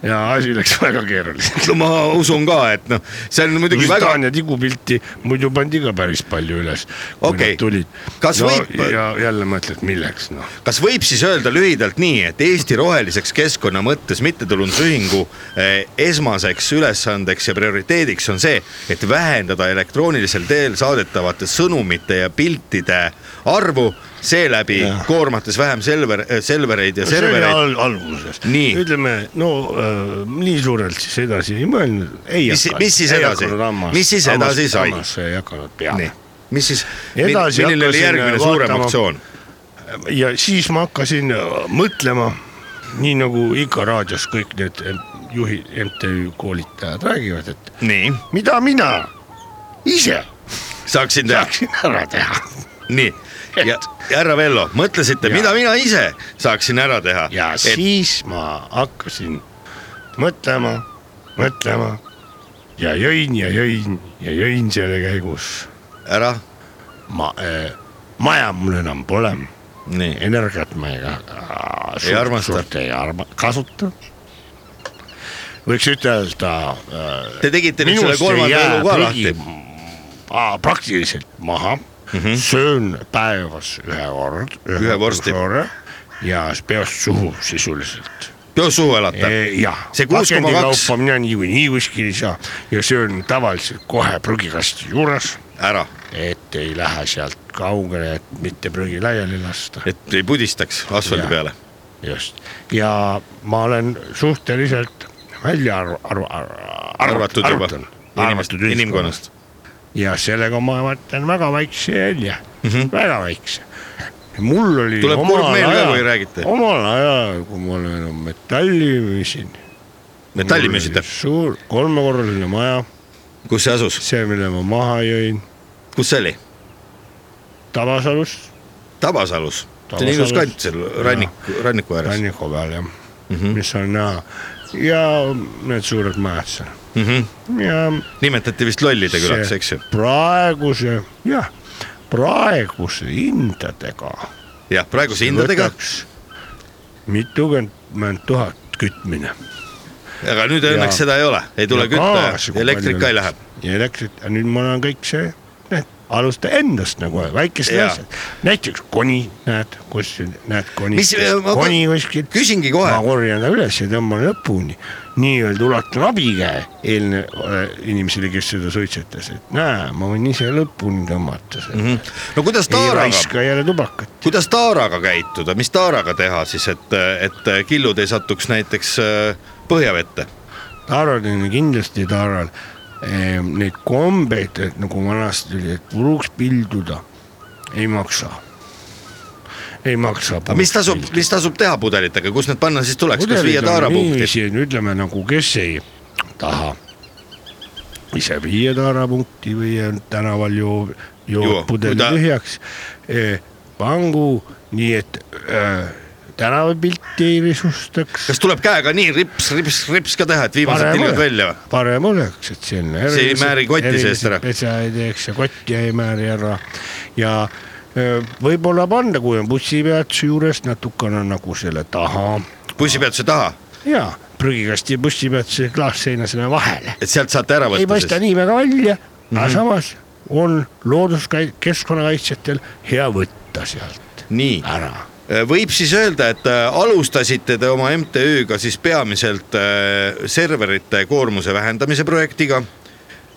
S2: ja asi läks <laughs> väga keeruliseks .
S1: no ma usun ka , et noh , see on muidugi väga ,
S2: Lusitaania tigupilti muidu pandi ka päris palju üles , kui
S1: Okei.
S2: nad tulid .
S1: Kas võib-
S2: ja jälle mõtled , milleks noh ,
S1: kas võib siis öelda lühidalt nii , et Eesti roheliseks keskkonna mõttes mittetulundusühingu eh, esmaseks ülesandeks ja prioriteediks on see , et vähendada elektroonilisel teel saadetavate sõnumite ja piltide arvu , seeläbi koormates vähem selver , selvereid ja
S2: see oli
S1: servereid .
S2: al alguses ,
S1: Nii.
S2: ütleme no äh, nii suurelt siis edasi ei mõelnud , ei
S1: Mis-
S2: hakanud .
S1: mis siis edasi? Mis siis edasi sai?
S2: ei hakanud peale
S1: nii , mis siis ,
S2: Edasi
S1: milline oli
S2: hakkasin eh,
S1: järgmine suurem
S2: vaatama-
S1: aktsioon ?
S2: ja siis ma hakkasin äh, mõtlema , nii nagu ikka raadios kõik need juhid , MTÜ koolitajad räägivad , et
S1: nii ,
S2: mida mina ise
S1: saaksin teha
S2: saaksin ära teha .
S1: nii , ja ja härra Vello , mõtlesite ,
S2: Ja.
S1: mida mina ise saaksin ära teha ?
S2: ja siis ma hakkasin mõtlema , mõtlema ja jõin ja jõin ja jõin selle käigus .
S1: ära ,
S2: ma äh, , maja mul enam pole ,
S1: nii ,
S2: energiat ma ei, äh, suurt-
S1: armasta.
S2: suurt ei arma, kasuta . võiks ütelda äh,
S1: te tegite nüüd selle
S2: Minust ei
S1: kolmanda
S2: jää
S1: elu ka
S2: prügi
S1: lahti .
S2: aa, praktiliselt maha mm , -hmm. söön päevas ühe kord ,
S1: Ühe vorsti.
S2: korra ja siis peost suhu sisuliselt .
S1: peos suhu elata ,
S2: jah ,
S1: See 6,2
S2: mina niikuinii kuskil ei saa ja söön tavaliselt kohe prügikasti juures ,
S1: ära ,
S2: et ei lähe sealt kaugele , et mitte prügi laiali lasta .
S1: et ei pudistaks asfaldi
S2: Ja.
S1: peale .
S2: just , ja ma olen suhteliselt välja arv- , arv- , arvatud
S1: arvatud juba
S2: arvutan,
S1: inimest ,
S2: arvatud inimkonnast .
S1: inimkonnast .
S2: ja sellega ma võtan väga väikse jälje mm , -hmm. väga väikse . mul oli .
S1: Mhm. Tuleb kurb meel ka, kui räägite.
S2: omal ajal , kui ma olen metalli müüsin .
S1: metalli müüsite ,
S2: suur kolmekorraline maja ,
S1: kus see asus ,
S2: see , mille ma maha jõin
S1: kus see oli ?
S2: Tabasalus ,
S1: Tabasalus , see on
S2: Tabasalus.
S1: ilus kant seal rannik , ranniku ääres .
S2: ranniku peal jah mm , -hmm. mis on näha ja need suured majad seal
S1: Mm -hmm.
S2: ja
S1: nimetati vist lollide
S2: See-
S1: külaks , eks ju ?
S2: praeguse , jah , praeguse hindadega .
S1: jah , praeguse hindadega ,
S2: mitukümmend tuhat kütmine .
S1: aga nüüd õnneks seda ei ole , ei tule kütta , elektrit ka ei lähe .
S2: ja elektrit , nüüd mul on kõik see , need alusta endast nagu väikest
S1: Jaa.
S2: asja , näiteks koni , näed , kus näed koni
S1: Mis- , ma-
S2: koni kuskil .
S1: küsingi kohe.
S2: ma korjan ta üles ja tõmban lõpuni , nii-öelda ulatan abikäe eelne äh, inimesele , kes seda suitsetas , et näe , ma võin ise lõpuni tõmmata seda mm . -hmm.
S1: no kuidas
S2: ei
S1: taaraga ,
S2: raiska jälle tubakat .
S1: kuidas taaraga käituda , mis taaraga teha siis , et , et killud ei satuks näiteks äh, põhjavette ?
S2: taaral on kindlasti taaral ehm, neid kombeid , et nagu vanasti oli , et puruks pilduda ei maksa . ei maksa .
S1: aga mis tasub , mis tasub teha pudelitega , kus need panna siis tuleks , kas viia taarapunkti ?
S2: ütleme nagu , kes ei taha ise viia taarapunkti või on tänaval ju ,
S1: Juua.
S2: joob pudeli
S1: Kui ta-
S2: tühjaks eh, , pangu , nii et äh, tänavapilti ei risustaks .
S1: kas tuleb käega nii rips , rips , rips ka teha , et viimased
S2: Parem
S1: tilgud
S2: ole.
S1: välja või ?
S2: parem oleks , et sinna .
S1: See ei määri kotti seest ära.
S2: pesa ei teeks ja kotti ei määri ära ja öö, võib-olla panna , kui on bussipeatuse juures natukene nagu selle taha
S1: bussipeatuse taha ,
S2: ja prügikasti ja bussipeatuse klaas seina sinna vahele .
S1: et sealt saate ära
S2: ei
S1: võtta
S2: paista
S1: siis .
S2: nii väga välja , aga
S1: Mhm.
S2: samas on looduskait- , keskkonnakaitsjatel hea võtta sealt
S1: nii ,
S2: ära .
S1: Äh, võib siis öelda , et äh, alustasite te oma MTÜ-ga siis peamiselt äh, serverite koormuse vähendamise projektiga .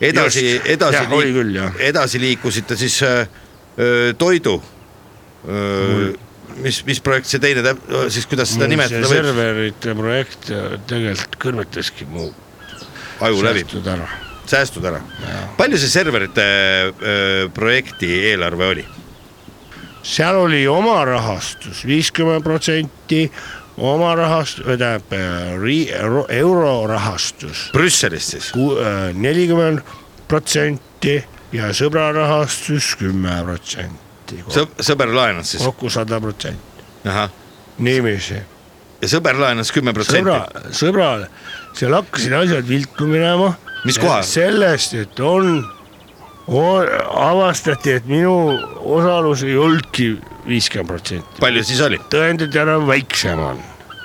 S1: edasi ,
S2: Just.
S1: edasi
S2: Jah, oli küll, jah. ,
S1: edasi liikusite siis äh, äh, toidu . mis , mis projekt see teine täp- , siis kuidas seda nimetada võib ,
S2: serverite projekt öö, tegelikult kõrvetaski mu
S1: aju läbi ,
S2: säästud ära
S1: säästud ära . palju see serverite äh, projekti eelarve oli ?
S2: seal oli oma rahastus viiskümmend protsenti , oma rahastus , tähendab eh, ri- euro- euro rahastus äh,
S1: Brüsselist siis ,
S2: nelikümmend protsenti ja sõbra rahastus kümme protsenti ,
S1: sõber laenas siis ,
S2: kokku sada protsenti ,
S1: ahah ,
S2: niiviisi .
S1: ja sõber laenas kümme
S2: sõbra
S1: protsenti ,,
S2: sõbral , seal hakkasid asjad viltu minema .
S1: Mis koha?
S2: sellest , et on, on , avastati , et minu osalus ei olnudki viiskümmend protsenti ,
S1: palju siis oli ?
S2: tõendid ära väiksem on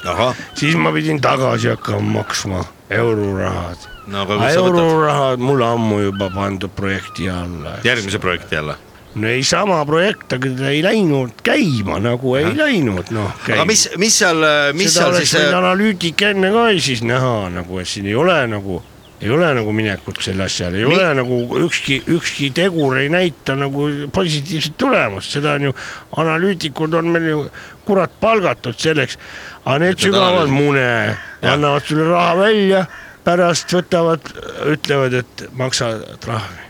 S1: ahah ,
S2: siis ma pidin tagasi hakkama maksma eurorahad .
S1: no aga kus sa võtad
S2: eurorahad mul ammu juba pandud projekti alla .
S1: järgmise projekti jälle ?
S2: no ei sama projekt , aga ta ei läinud käima nagu ei läinud noh .
S1: aga mis , mis seal , mis
S2: seda
S1: seal
S2: oleks
S1: siis äh,
S2: võinud analüütik enne ka siis näha nagu , et siin ei ole nagu , ei ole nagu minekut selle asjale , ei
S1: Mi-
S2: Mi ole nagu ükski , ükski tegur ei näita nagu positiivset tulemust , seda on ju , analüütikud on meil ju kurat palgatud selleks , aga need
S1: nad
S2: sügavad
S1: analüüsivad.
S2: mune , annavad sulle raha välja , pärast võtavad , ütlevad , et maksa trahvi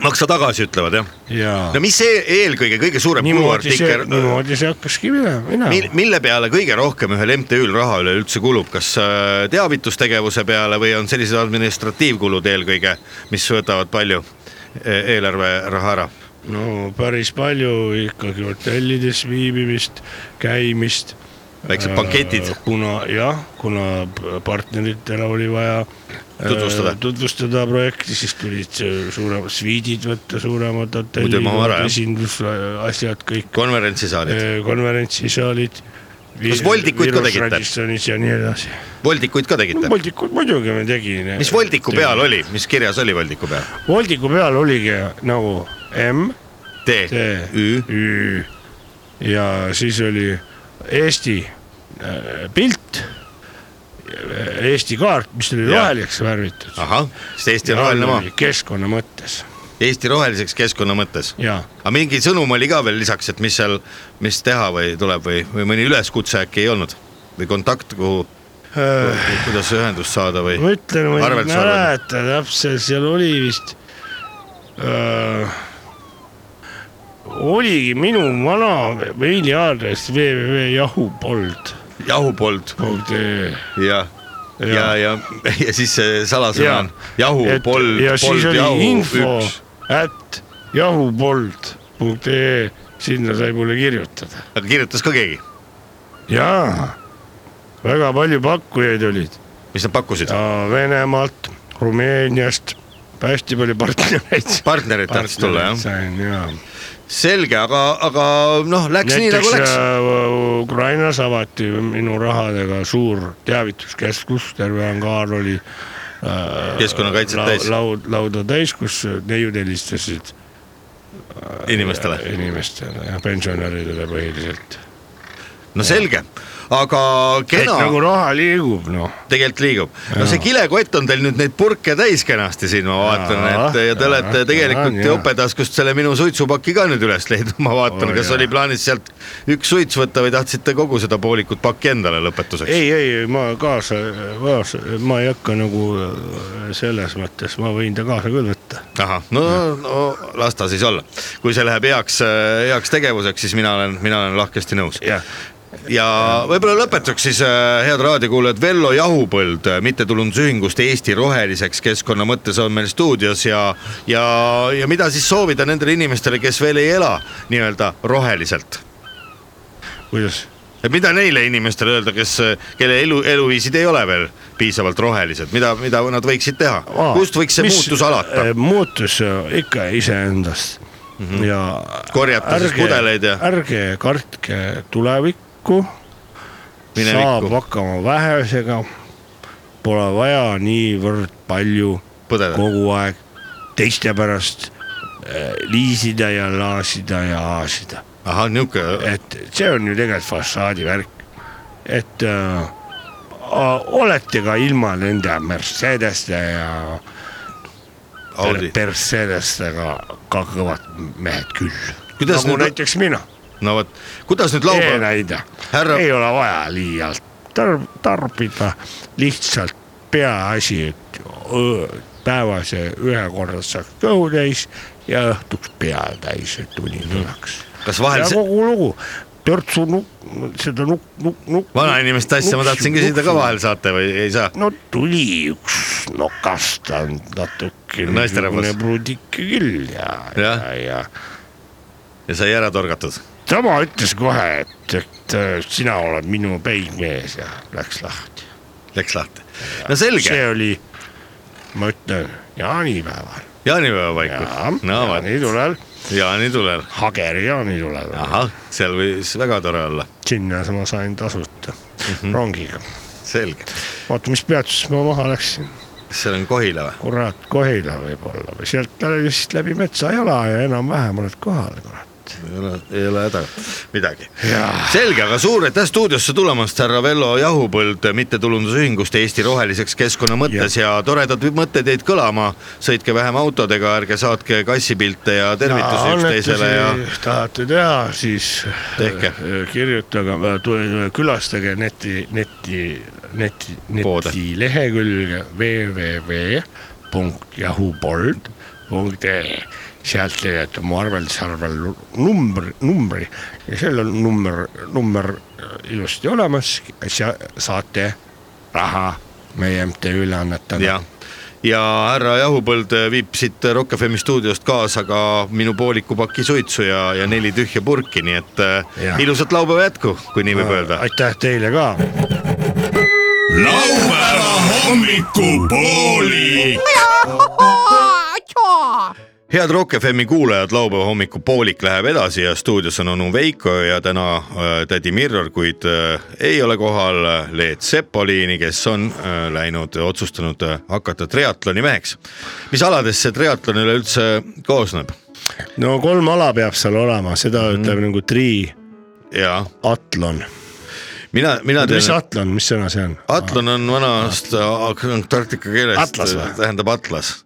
S1: maksa tagasi , ütlevad jah ?
S2: ja
S1: no mis see eelkõige kõige suurem
S2: niimoodi see ,
S1: kuluartikkel ,
S2: niimoodi see hakkaski minema , minema .
S1: mille peale kõige rohkem ühel MTÜ-l raha üleüldse kulub , kas äh, teavitustegevuse peale või on sellised administratiivkulud eelkõige , mis võtavad palju e- eelarveraha ära ?
S2: no päris palju ikkagi hotellides viibimist , käimist .
S1: Väiksed banketid. .
S2: kuna jah , kuna p- partneritele oli vaja äh,
S1: Tutvustada.
S2: tutvustada projekti , siis tulid see suuremad sviidid võtta , suuremad
S1: Muidu maha ära,
S2: hotellid
S1: jah. ,
S2: esindusasjad kõik ,
S1: konverentsisaalid ,
S2: konverentsisaalid .
S1: Kas voldikuid ka tegite?
S2: ja nii edasi .
S1: voldikuid ka tegite ?
S2: voldikud muidugi me tegime .
S1: mis voldiku peal ? oli , mis kirjas oli voldiku peal ?
S2: voldiku peal oligi nagu M
S1: T ,
S2: T.
S1: Ü ,
S2: Ü. ja siis oli Eesti äh, pilt , Eesti kaart , mis oli
S1: Jah.
S2: roheliseks värvitud .
S1: ahah , siis Eesti on roheline maa ,
S2: keskkonna mõttes
S1: Eesti roheliseks keskkonna mõttes .
S2: ja
S1: aga mingi sõnum oli ka veel lisaks , et mis seal , mis teha või tuleb või , või mõni üleskutse äkki ei olnud või kontakt , kuhu , kuidas ühendust saada või ?
S2: ma ütlen , ma ei
S1: arveldus arveldus.
S2: mäleta täpselt , seal oli vist äh, , oligi minu vana meiliaadress www.jahupold.ee
S1: jahupold ja , ja , ja,
S2: Jaa.
S1: ja , ja siis see salasõna
S2: Jaa.
S1: on jahu ,
S2: Et-
S1: pold ,
S2: ja siis
S1: pold ,
S2: oli
S1: jahu ,
S2: info
S1: üks .
S2: at jahupold.ee , sinna sai mulle kirjutada .
S1: aga kirjutas ka keegi ,
S2: jaa , väga palju pakkujaid olid
S1: mis nad pakkusid ?
S2: ja Venemaalt , Rumeeniast , hästi palju partnereid .
S1: partnerid tahtsid tulla jah ,
S2: sain jaa .
S1: selge , aga , aga noh , läks nii nagu
S2: näiteks
S1: läks .
S2: äh, Ukrainas avati minu rahadega suur teavituskeskus , terve angaar oli äh,
S1: Keskkonnakaitset täis.
S2: äh, laud , lauda täis , kus neiud helistasid äh,
S1: inimestele .
S2: inimestele ja pensionäridele põhiliselt .
S1: no selge , aga
S2: et
S1: kena
S2: nagu raha liigub , noh .
S1: tegelikult liigub . no see kilekott on teil nüüd neid purke täis kenasti siin , ma vaatan ,
S2: Jaa,
S1: et ja te
S2: jaa,
S1: olete tegelikult
S2: jaa, jaa.
S1: jopetaskust selle minu suitsupaki ka nüüd üles leidnud , ma vaatan
S2: Oo,
S1: oh, , kas
S2: jaa.
S1: jaa. oli plaanis sealt üks suits võtta või tahtsite kogu seda poolikut pakki endale lõpetuseks ?
S2: ei , ei , ma kaasa , kaasa , ma ei hakka nagu äh, selles mõttes , ma võin ta kaasa küll võtta .
S1: ahah , no, no las ta siis olla , kui see läheb heaks , heaks tegevuseks , siis mina olen , mina olen lahkesti nõus
S2: jah ,
S1: ja võib-olla lõpetuseks siis äh, head raadiokuulajad , Vello Jahupõld äh, mittetulundusühingust Eesti Roheliseks keskkonna mõttes on meil stuudios ja , ja , ja mida siis soovida nendele inimestele , kes veel ei ela nii-öelda roheliselt ?
S2: kuidas ?
S1: et mida neile inimestele öelda , kes , kelle elu , eluviisid ei ole veel piisavalt rohelised , mida , mida nad võiksid teha , kust võiks see muutus
S2: äh,
S1: alata ? Mhm.
S2: muutus äh, ikka iseendast mm -hmm. ja .
S1: Korjata siis pudeleid ja-
S2: ärge kartke tulevikku .
S1: Minevikku.
S2: saab hakkama vähesega . Pole vaja niivõrd palju
S1: Põdeda.
S2: kogu aeg teiste pärast äh, liisida ja laasida ja aasida
S1: ahah , niuke ,
S2: et see on ju tegelikult fassaadi värk . et äh, a- olete ka ilma nende Mercedeste ja
S1: Audi ,
S2: Mercedestega ka kõvad mehed küll .
S1: Kuidas
S2: nagu
S1: nüüd-
S2: näiteks mina ,
S1: no vot , kuidas nüüd laupäev ,
S2: e-näide ,
S1: Härra-
S2: ei ole vaja liialt tar- , tarbida , lihtsalt peaasi , et öö- päevase ühe korra saaks kõhu täis ja õhtuks pea täis , et uni tuleks
S1: kas vahel
S2: ja
S1: see-
S2: kogu lugu , törtsu nukk , seda nukk , nukk , nukk .
S1: vanainimeste asja ma tahtsin küsida ka . vahel saate või ei saa ?
S2: no tuli üks nokastanud natuke .
S1: Naisterahvas.
S2: prudike küll ja , ja,
S1: Jah.
S2: ja
S1: ja sai ära torgatud .
S2: tema ütles kohe , et , et äh, sina oled minu peigmees ja läks lahti .
S1: Läks lahti . no selge ,
S2: see oli , ma ütlen , jaanipäeval .
S1: jaanipäeva paiku .
S2: jaa ,
S1: no vot ,
S2: jaanitulel ,
S1: jaanitulel .
S2: Hageri jaanitulel ,
S1: ahah , seal võis väga tore olla ,
S2: sinna ma sain tasuta mm
S1: Mhm.
S2: -hmm. rongiga .
S1: selge .
S2: vaata , mis peatuses ma maha läksin .
S1: kas seal on Kohila või ?
S2: kurat , Kohila võib-olla või sealt läbi- vist läbi metsajala ja enam-vähem oled kohal , kurat .
S1: ei ole , ei ole häda midagi .
S2: Jaa.
S1: selge , aga suur aitäh stuudiosse tulemast , härra Vello Jahupõld mittetulundusühingust Eesti Roheliseks keskkonna mõttes ja, ja toredad mõtted jäid kõlama . sõitke vähem autodega , ärge saatke kassipilte ja tervitusi üksteisele ja
S2: tahate teha , siis
S1: Tehke.
S2: äh, kirjutage , külastage neti , neti , neti ,
S1: Poode.
S2: netilehekülge www.yahoo.bold.ee sealt leiate mu arveldusarvel numbri , numbri ja seal on number , number äh, ilusti olemas , saate raha meie MTÜ-le annetada .
S1: jah , ja härra Jahupõld viib siit Rock FM stuudiost kaasa ka minu pooliku paki suitsu ja , ja neli tühja purki , nii et ja.
S2: Jah.
S1: ilusat laupäeva jätku , kui nii võib öelda .
S2: aitäh teile ka
S4: laupäeva hommikupooli .
S1: head Rock FM-i kuulajad , laupäeva hommikupoolik läheb edasi ja stuudios on onu Veiko ja täna äh, tädi Mirror , kuid äh, ei ole kohal äh, Leet Sepoliini , kes on äh, läinud , otsustanud äh, hakata triatloni meheks . mis aladest see triatlon üleüldse koosneb ?
S2: no kolm ala peab seal olema , seda
S1: Mhm.
S2: mm. ütleb nagu triatlon .
S1: jaa , mina , mina
S2: mis atlon , mis sõna see on ?
S1: Atlon on vanast Antarktika keelest ,
S2: Atlas või? Ah.
S1: tähendab atlas .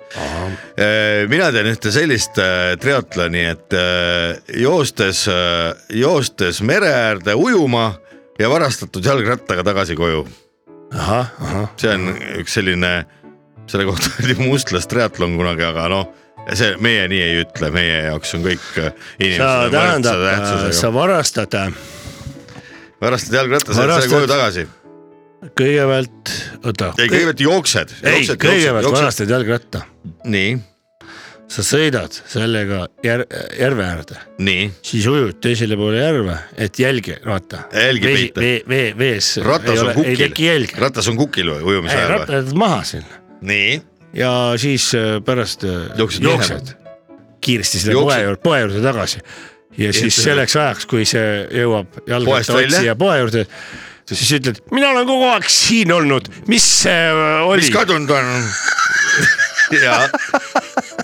S1: mina tean ühte sellist äh, triatloni , et äh, joostes , joostes mere äärde ujuma ja varastatud jalgrattaga tagasi koju .
S2: ahah , ahah ,
S1: see on üks selline , selle kohta <laughs> oli mustlas triatlon kunagi , aga noh , see meie nii ei ütle , meie jaoks on kõik äh, inimesed
S2: sa
S1: on võrdse
S2: tähendab , sa
S1: tähtsusega .
S2: varastad äh,
S1: varastad jalgratta , sa lähed
S2: varastad-
S1: koju tagasi .
S2: kõigepealt , oota ,
S1: ei , kõigepealt jooksed .
S2: ei , kõigepealt . varastad jalgratta ,
S1: nii ,
S2: sa sõidad sellega jär- , järve äärde ,
S1: nii
S2: siis ujud teisele poole järve , et jälgi , vaata .
S1: Jälgi peita.
S2: vee , vee , vees
S1: ratas
S2: ei
S1: on
S2: ei
S1: kukil
S2: teki , jälge ,
S1: ratas on kukil või ujumise ajal või ?
S2: rattad maha sinna
S1: nii ,
S2: ja siis äh, pärast äh,
S1: Jooksed
S2: jooksed kiiresti selle
S1: Jooksed.
S2: poe juurde , poe juurde tagasi . ja siis
S1: see-
S2: selleks ajaks , kui see jõuab
S1: Poest välja?
S2: jalgrattaotsija poe juurde , siis ütled , mina olen kogu aeg siin olnud , mis see äh, oli
S1: mis ? <laughs> kadunud on ? ja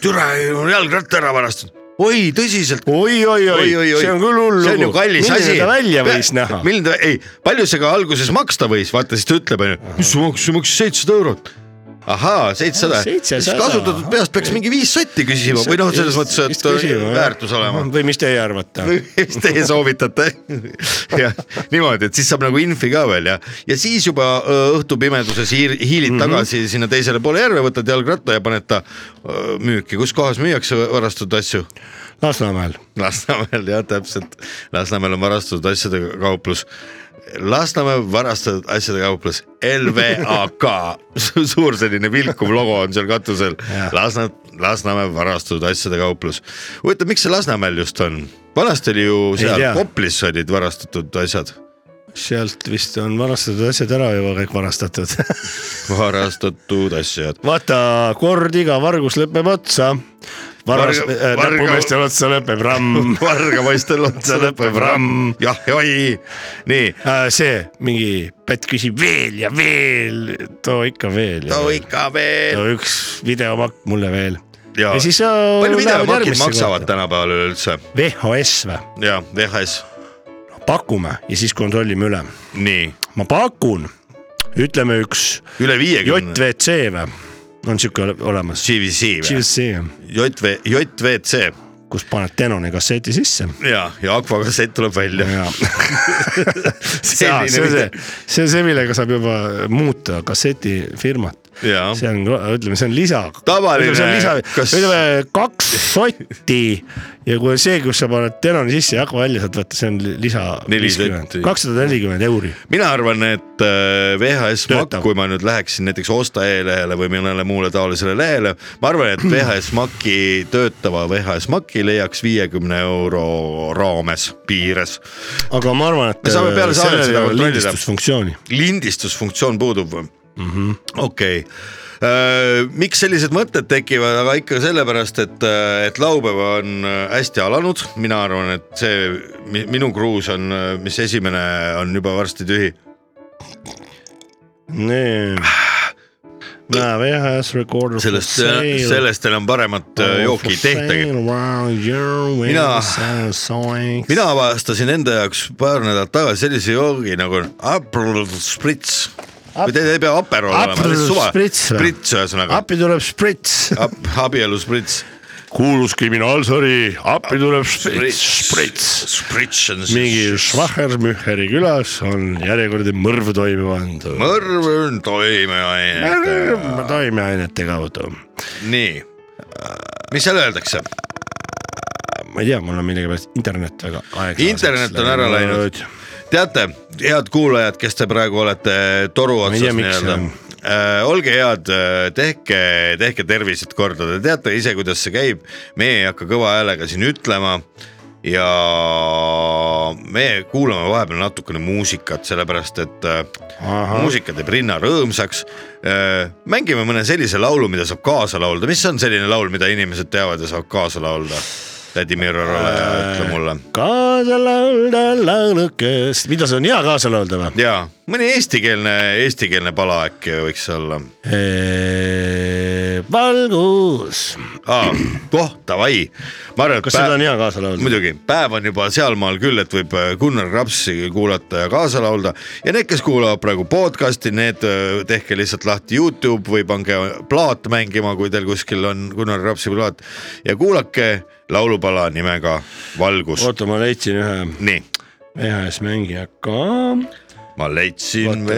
S1: türa , mul jalgratta ära varastanud . oi , tõsiselt .
S2: Oi, oi, oi. See on küll hull
S1: see on ju
S2: lugu.
S1: kallis
S2: Milline
S1: asi .
S2: ta välja võis näha?
S1: milline ta , ei , palju see ka alguses maksta võis , vaata siis ta ütleb , onju , mis see maksis , see maksis seitsesada eurot ahaa , seitsesada ,
S2: 700.
S1: kasutatud peast peaks mingi viis sotti küsima või noh , selles mõttes , et äh, väärtus olema .
S2: või mis teie arvate ?
S1: mis teie soovitate ? <laughs> jah , niimoodi , et siis saab nagu infi ka veel ja , ja siis juba öö, õhtupimeduses hiir- hiilid mm -hmm. tagasi sinna teisele poole järve , võtad jalgratta ja paned ta öö, müüki , kus kohas müüakse varastatud asju ?
S2: Lasnamäel .
S1: Lasnamäel jah , täpselt , Lasnamäel on varastatud asjade kauplus . Lasnamäe varastatud asjade kauplus , LVAK , <laughs> suur selline vilkuv logo on seal katusel . Lasna , Lasnamäe varastatud asjade kauplus . huvitav , miks see Lasnamäel just on ? vanasti oli ju seal
S2: tea.
S1: Koplis olid varastatud asjad ,
S2: sealt vist on varastatud asjad ära juba kõik varastatud .
S1: <laughs> varastatud asjad .
S2: vaata , kord iga vargus lõpeb otsa . vargas
S1: Varga-
S2: äh, ,
S1: varga-
S2: näpumeestel otsa lõpeb ramm .
S1: varga poistel otsa lõpeb ramm , jah ja oi , nii .
S2: Äh, see mingi pätt küsib veel ja veel , too ikka veel .
S1: too ikka veel
S2: no üks videomakk mulle veel .
S1: ja,
S2: ja siis . äh,
S1: palju videomakid maksavad ? tänapäeval üleüldse ?
S2: VHS või ?
S1: ja VHS ,
S2: pakume ja siis kontrollime üle .
S1: nii
S2: ma pakun , ütleme üks
S1: üle viiekümne .
S2: JVC või , on siuke ole- olemas .
S1: GVC või ?
S2: JVC ,
S1: JV , JVC
S2: kus paned Denoni kasseti sisse .
S1: ja , ja akvakassett tuleb <laughs> välja .
S2: see on see , see on see , millega saab juba muuta kassetifirmat .
S1: Jaa.
S2: see on , ütleme , see on lisa .
S1: Tavaline, kas-
S2: kas... ütleme kaks sotti ja kui on see , kus sa paned Denoni sisse ja hakkab välja , saad võtta , see on li- lisa .
S1: Neli sotti.
S2: kakssada nelikümmend euri .
S1: mina arvan , et äh, VHS Makk ,
S2: Töötav.
S1: kui ma nüüd läheksin näiteks Osta e-lehele või mõnele muule taolisele lehele , ma arvan ,
S2: <clears throat>
S1: et VHS Maki , töötava VHS Maki leiaks viiekümne euro raames , piires .
S2: aga ma arvan , et . äh,
S1: Me saame peale saadet seda kontrollida.
S2: lindistusfunktsiooni .
S1: lindistusfunktsioon puudub või ?
S2: Mhm.
S1: okei , miks sellised mõtted tekivad , aga ikka sellepärast , et , et laupäev on äh, hästi alanud , mina arvan , et see mi- minu kruus on , mis esimene on juba varsti tühi .
S2: nii . näe , VHS recorder .
S1: Ah. sellest , sellest enam paremat
S2: Oh,
S1: äh, jooki ei tehtagi . Mina-
S2: mina ,
S1: mina avastasin enda jaoks paar nädalat tagasi sellise joogi nagu Aperol Spritz . või te te ei pea Aperol olema ,
S2: Aperol
S1: lihtsalt suva ,
S2: Spritz või?
S1: Spritz ühesõnaga ,
S2: appi tuleb sprits .
S1: abielu Spritz .
S2: kuulus kriminaalsari , appi tuleb sprits , sprits .
S1: Spritz on siis .
S2: mingi Schwachersmücheri külas on järjekordne mõrv toime pandud .
S1: mõrv on toimeaine .
S2: mõrv toimeainete kaudu .
S1: nii , mis seal öeldakse ?
S2: ma ei tea , mul on millegipärast internet väga aeglaselt .
S1: internet on ära läinud . teate , head kuulajad , kes te praegu olete toru
S2: ei
S1: otsas
S2: tea, miks
S1: nii-öelda äh,
S2: see on. .
S1: olge head , tehke , tehke tervised korda , te teate ise , kuidas see käib , meie ei hakka kõva häälega siin ütlema ja me kuulame vahepeal natukene muusikat , sellepärast et Aha.
S2: Ahah.
S1: muusika teeb rinna rõõmsaks . mängime mõne sellise laulu , mida saab kaasa laulda , mis on selline laul , mida inimesed teavad ja saavad kaasa laulda ? tädi Mirrorale
S2: Äh,
S1: ütle mulle
S2: kaasa laulda laulukest , mida see on hea kaasa laulda või ?
S1: jaa , mõni eestikeelne , eestikeelne pala äkki võiks olla
S2: valgus ,
S1: ah, . oh , davai , ma arvan , et
S2: kas seda on hea kaasa laulda ?
S1: muidugi , päev on juba sealmaal küll , et võib äh, Gunnar Rapsi kuulata ja kaasa laulda ja need , kes kuulavad praegu podcast'i , need äh, tehke lihtsalt lahti Youtube või pange plaat mängima , kui teil kuskil on Gunnar Rapsi plaat ja kuulake laulupala nimega Valgus .
S2: oota , ma leidsin ühe
S1: nii ,
S2: VHS mängija ka ,
S1: ma leidsin
S2: Vaatame.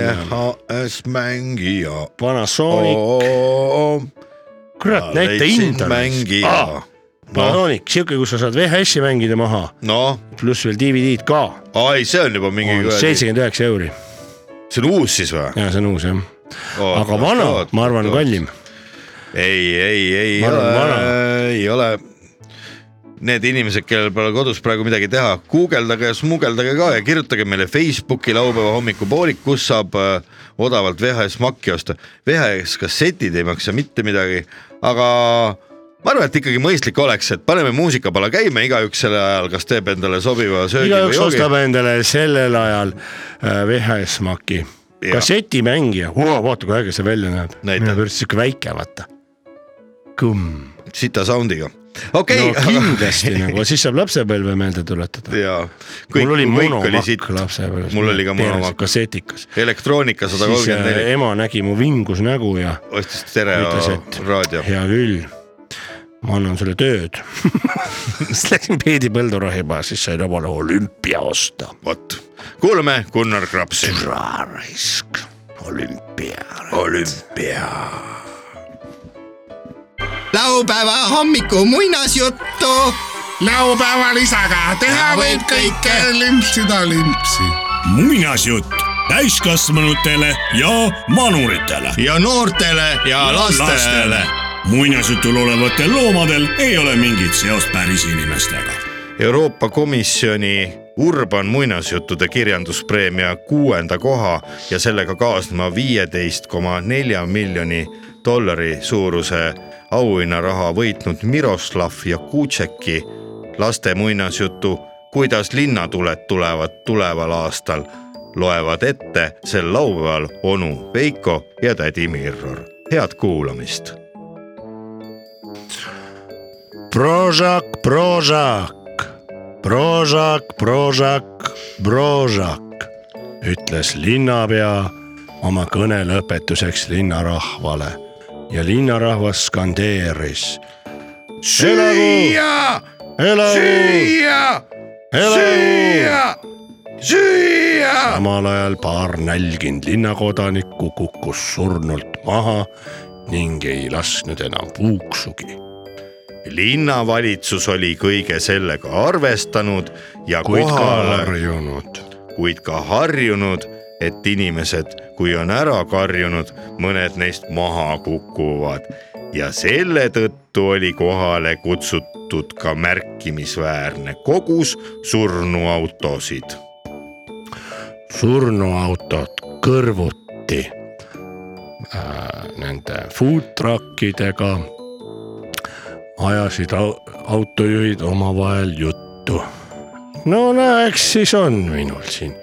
S1: VHS mängija .
S2: Panasonic , kurat , näita hinda .
S1: mängija . noh ,
S2: Panasonic , siuke , kus sa saad VHS-i mängida maha ,
S1: noh ,
S2: pluss veel DVD-d ka ,
S1: ai , see on juba mingi
S2: on . seitsekümmend üheksa euri
S1: see on uus siis või ?
S2: ja see on uus jah , aga vana , ma arvan , kallim .
S1: ei , ei , ei
S2: Ma arvan,
S1: ole
S2: vana. ,
S1: ei ole . Need inimesed , kellel pole kodus praegu midagi teha , guugeldage ja smugeldage ka ja kirjutage meile Facebooki laupäeva hommikupoolik , kus saab äh, odavalt VHS makki osta . VHS kassetid ei maksa mitte midagi , aga ma arvan , et ikkagi mõistlik oleks , et paneme muusikapala käima , igaüks sel ajal , kas teeb endale sobiva söögi või
S2: igaüks
S1: joogi .
S2: ostab endale sellel ajal äh, VHS maki ,
S1: Jah.
S2: kassetimängija , vaata kui äge see välja näeb ,
S1: Näitab.
S2: minu arust siuke väike , vaata . kumm ,
S1: sita sound'iga , okei
S2: no kindlasti nagu , siis saab lapsepõlve meelde tuletada .
S1: <laughs> jaa .
S2: mul oli
S1: siit
S2: monomakk lapsepõlves .
S1: mul oli ka monomakk ,
S2: kassetikas .
S1: elektroonika sada
S2: siis
S1: kolmkümmend
S2: äh,
S1: neli ,
S2: ema nägi mu vingus nägu ja
S1: ostis
S2: ütles , et
S1: stereoraadio .
S2: hea küll , ma annan sulle tööd . <laughs> siis läksin Peedi Põldu rohima , siis sain omale olümpia osta .
S1: vot , kuulame Gunnar Krapsi .
S2: raisk , olümpia . olümpia .
S7: laupäeva hommiku muinasjuttu
S6: laupäeval isaga teha võib kõike limpsida limpsi .
S4: muinasjutt täiskasvanutele ja vanuritele .
S7: ja noortele ja lastele .
S4: muinasjutul olevatel loomadel ei ole mingit seost päris inimestega .
S1: Euroopa Komisjoni Urban muinasjuttude kirjanduspreemia kuuenda koha ja sellega kaasneva viieteist koma nelja miljoni dollari suuruse auhinnaraha võitnud Miroslav Jakutšeki laste muinasjutu Kuidas linnatuled tulevad tuleval aastal loevad ette sel laupäeval onu Veiko ja tädi Mirror . head kuulamist .
S2: Prožak , prožak , prožak , prožak , prožak , ütles linnapea oma kõne lõpetuseks linnarahvale ja linnarahvas skandeeris . elagu , elagu ,
S1: süüa ,
S2: elagu .
S1: süüa .
S2: samal ajal paar nälginud linnakodanikku kukkus surnult maha ning ei lasknud enam puuksugi .
S1: linnavalitsus oli kõige sellega arvestanud ja
S2: kuid ka
S1: kohale ,
S2: harjunud .
S1: kuid ka harjunud , et inimesed , kui on ära karjunud , mõned neist maha kukuvad ja selle tõttu oli kohale kutsutud ka märkimisväärne kogus surnuautosid .
S2: surnuautod kõrvuti äh, nende food truckidega ajasid au- autojuhid omavahel juttu . no näe , eks siis on minul siin ,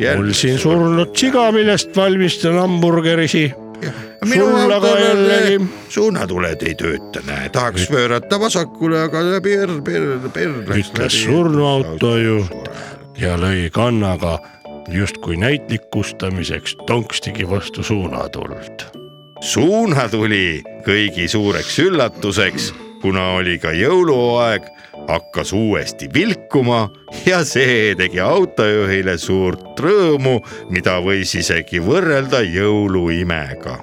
S2: mul siin surnud sigaviljast valmistan hamburgerisi . sul aga jällegi
S1: suunatuled ei tööta , näe , tahaks pöörata vasakule , aga läbi R , R , R läks
S2: ütles surnuautojuht ja lõi kannaga justkui näitlikustamiseks tonkstigi vastu suunatuld .
S1: suuna tuli kõigi suureks üllatuseks , kuna oli ka jõuluaeg , hakkas uuesti vilkuma ja see tegi autojuhile suurt rõõmu , mida võis isegi võrrelda jõuluimega .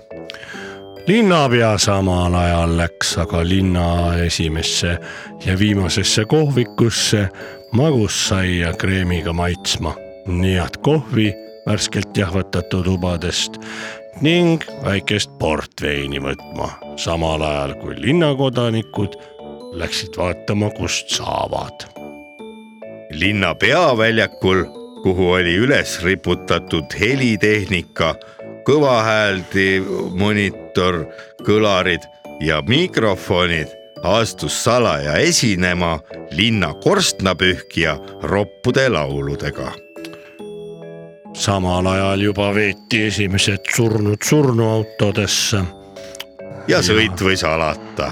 S2: linnapea samal ajal läks aga linna esimesse ja viimasesse kohvikusse magussaia kreemiga maitsma nii head kohvi värskelt jahvatatud ubadest ning väikest portveini võtma , samal ajal kui linnakodanikud läksid vaatama , kust saavad
S1: linna peaväljakul , kuhu oli üles riputatud helitehnika , kõvahääldi monitor , kõlarid ja mikrofonid , astus salaja esinema linna korstnapühkija roppude lauludega .
S2: samal ajal juba veeti esimesed surnud surnuautodesse .
S1: ja sõit võis alata .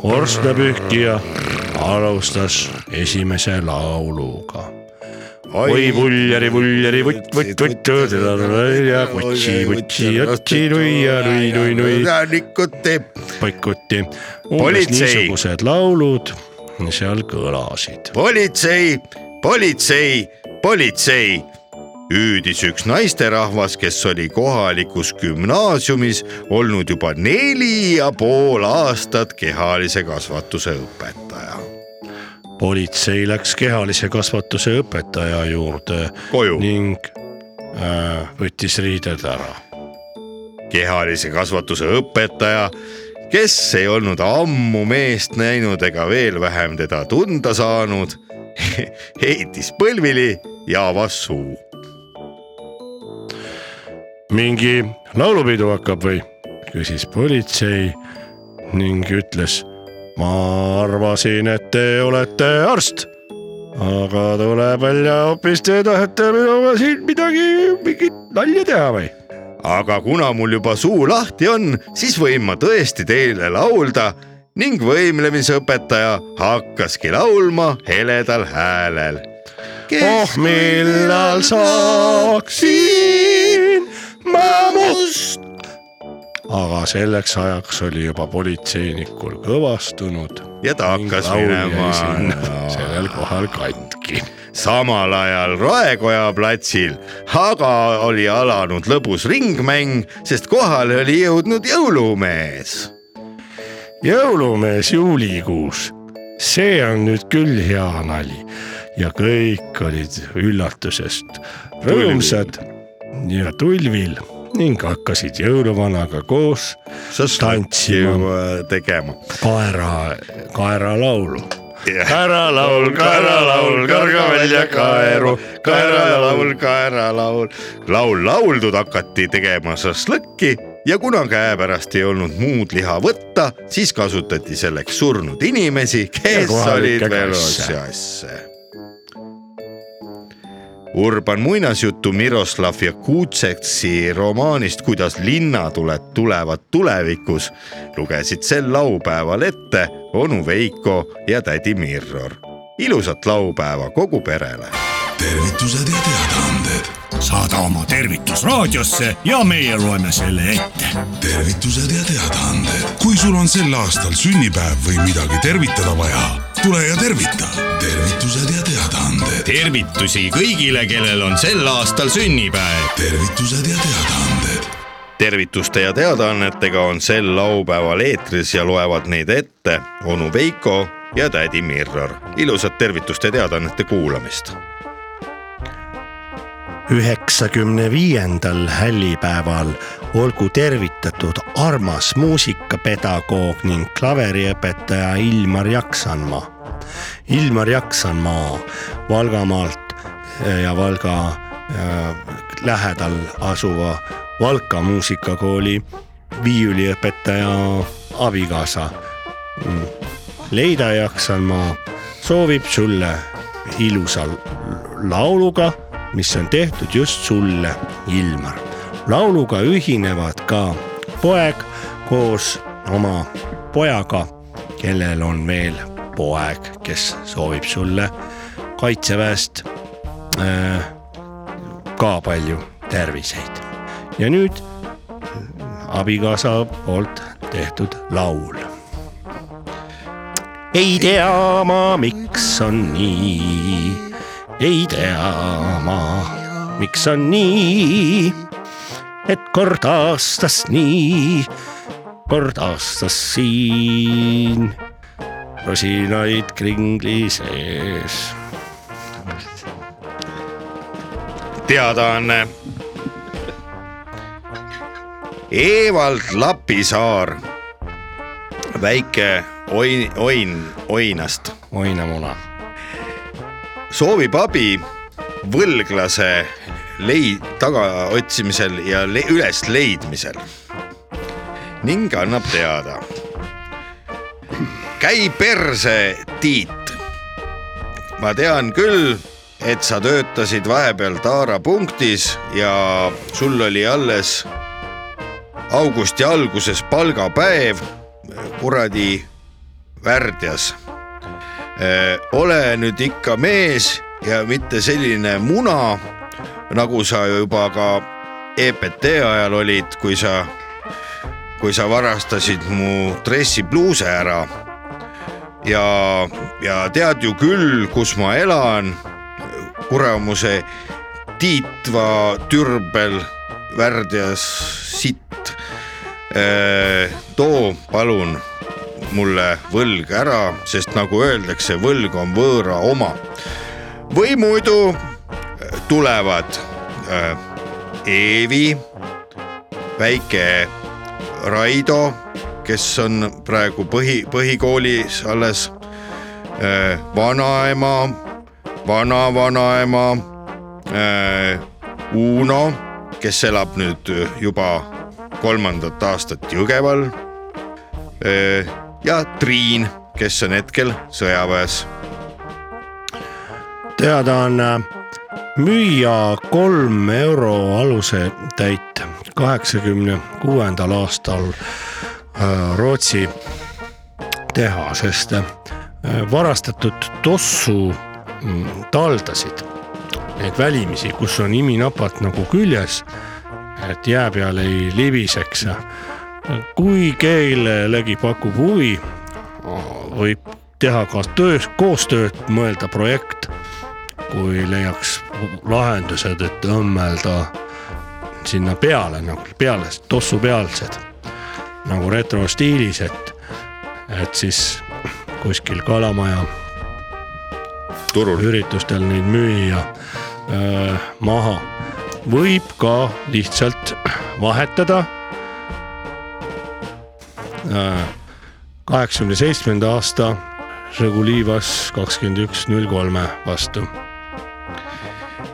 S2: korstnapühkija alustas esimese lauluga . oi vuljari , vuljari , vutt , vutt , vutt , ja kutsi , kutsi , otsi , nuia , nui , nui , nui ,
S1: Rannikud teeb .
S2: paikuti . umbes
S1: Politsei.
S2: niisugused laulud seal kõlasid .
S1: politsei , politsei , politsei , hüüdis üks naisterahvas , kes oli kohalikus gümnaasiumis olnud juba neli ja pool aastat kehalise kasvatuse õpetaja .
S2: politsei läks kehalise kasvatuse õpetaja juurde
S1: koju ,
S2: ning äh, võttis riided ära
S1: kehalise kasvatuse õpetaja , kes ei olnud ammu meest näinud ega veel vähem teda tunda saanud , <laughs> heitis põlvili ja avas suu .
S2: mingi laulupidu hakkab või ? küsis politsei ning ütles . ma arvasin , et te olete arst , aga tuleb välja hoopis te tahate minuga siin midagi , mingit nalja teha või ?
S1: aga kuna mul juba suu lahti on , siis võin ma tõesti teile laulda , ning võimlemisõpetaja hakkaski laulma heledal häälel .
S2: oh millal saaksin ma must . aga selleks ajaks oli juba politseinikul kõvastunud .
S1: ja ta hakkas minema .
S2: sellel kohal katki .
S1: <laughs> samal ajal Raekoja platsil aga oli alanud lõbus ringmäng , sest kohale oli jõudnud jõulumees .
S2: jõulumees juulikuus , see on nüüd küll hea nali ja kõik olid üllatusest rõõmsad ja tulvil ning hakkasid jõuluvanaga koos tantsima
S1: äh, tegema .
S2: kaera , kaeralaulu .
S1: kaeralaul , kaeralaul , karga välja kaeru , kaeralaul , kaeralaul . laul lauldud hakati tegema šašlõkki ja kuna käepärast ei olnud muud liha võtta , siis kasutati selleks surnud inimesi , kes olid
S2: kohalikke
S1: veel
S2: kasse.
S1: asjasse . Urban muinasjutu Miroslav Jakutsetsi romaanist Kuidas linnatuled tulevad tulevikus lugesid sel laupäeval ette onu Veiko ja tädi Mirror . ilusat laupäeva kogu perele .
S6: tervitused ja teadaanded ,
S4: saada oma tervitus raadiosse ja meie loeme selle ette .
S6: tervitused ja teadaanded . kui sul on sel aastal sünnipäev või midagi tervitada vaja , tule ja tervita . tervitused ja teadaanded ,
S7: tervitusi kõigile , kellel on sel aastal sünnipäev .
S6: tervitused ja teadaanded ,
S1: tervituste ja teadaannetega on sel laupäeval eetris ja loevad neid ette onu Veiko ja tädi Mirror . ilusat tervituste ja teadaannete kuulamist .
S2: üheksakümne viiendal hällipäeval olgu tervitatud armas muusikapedagoog ning klaveriõpetaja Ilmar Jaksanmaa . Ilmar Jaksanmaa Valgamaalt ja Valga äh, lähedal asuva Valka muusikakooli viiuliõpetaja abikaasa Mm. leida jaksan ma , soovib sulle ilusa l- lauluga , mis on tehtud just sulle , Ilmar . lauluga ühinevad ka poeg koos oma pojaga , kellel on veel poeg , kes soovib sulle kaitseväest äh, ka palju terviseid . ja nüüd abikaasa poolt tehtud laul ei tea ma , miks on nii , ei tea ma , miks on nii , et kord aastas nii , kord aastas siin , rosinaid kringli sees .
S1: teadaanne . Evald Lapisaar , väike oin , oin , oinast
S2: oina muna ,
S1: soovib abi võlglase lei- , tagaotsimisel ja le, ülesleidmisel ning annab teada . käi perse , Tiit . ma tean küll , et sa töötasid vahepeal Taara punktis ja sul oli alles augusti alguses palgapäev kuradi värdjas Eh, ole nüüd ikka mees ja mitte selline muna , nagu sa juba ka EPT ajal olid , kui sa , kui sa varastasid mu dressipluuse ära . ja , ja tead ju küll , kus ma elan , kuramuse Tiitva türbel värdjas sitt . too palun mulle võlg ära , sest nagu öeldakse , võlg on võõra oma . või muidu äh, tulevad äh, Eevi , väike Raido , kes on praegu põhi , põhikoolis alles äh, , vanaema , vanavanaema äh, , Uno , kes elab nüüd äh, juba kolmandat aastat Jõgeval Öö, ja Triin , kes on hetkel sõjaväes .
S2: teadaanne äh, müüa kolm euro aluse täit kaheksakümne kuuendal aastal äh, Rootsi teha , sest äh, varastatud tossu mm, taldasid , neid välimisi , kus on iminapad nagu küljes , et jää peal ei libiseks . kui kellelegi pakub huvi , võib teha ka töös , koostööd , mõelda projekt , kui leiaks lahendused , et õmmelda sinna peale nagu peale , tossu pealsed nagu retrostiilis , et , et siis kuskil kalamaja
S1: turul .
S2: üritustel neid müüa öö, maha . võib ka lihtsalt vahetada . kaheksakümne seitsmenda aasta Žigulivas kakskümmend üks null kolme vastu .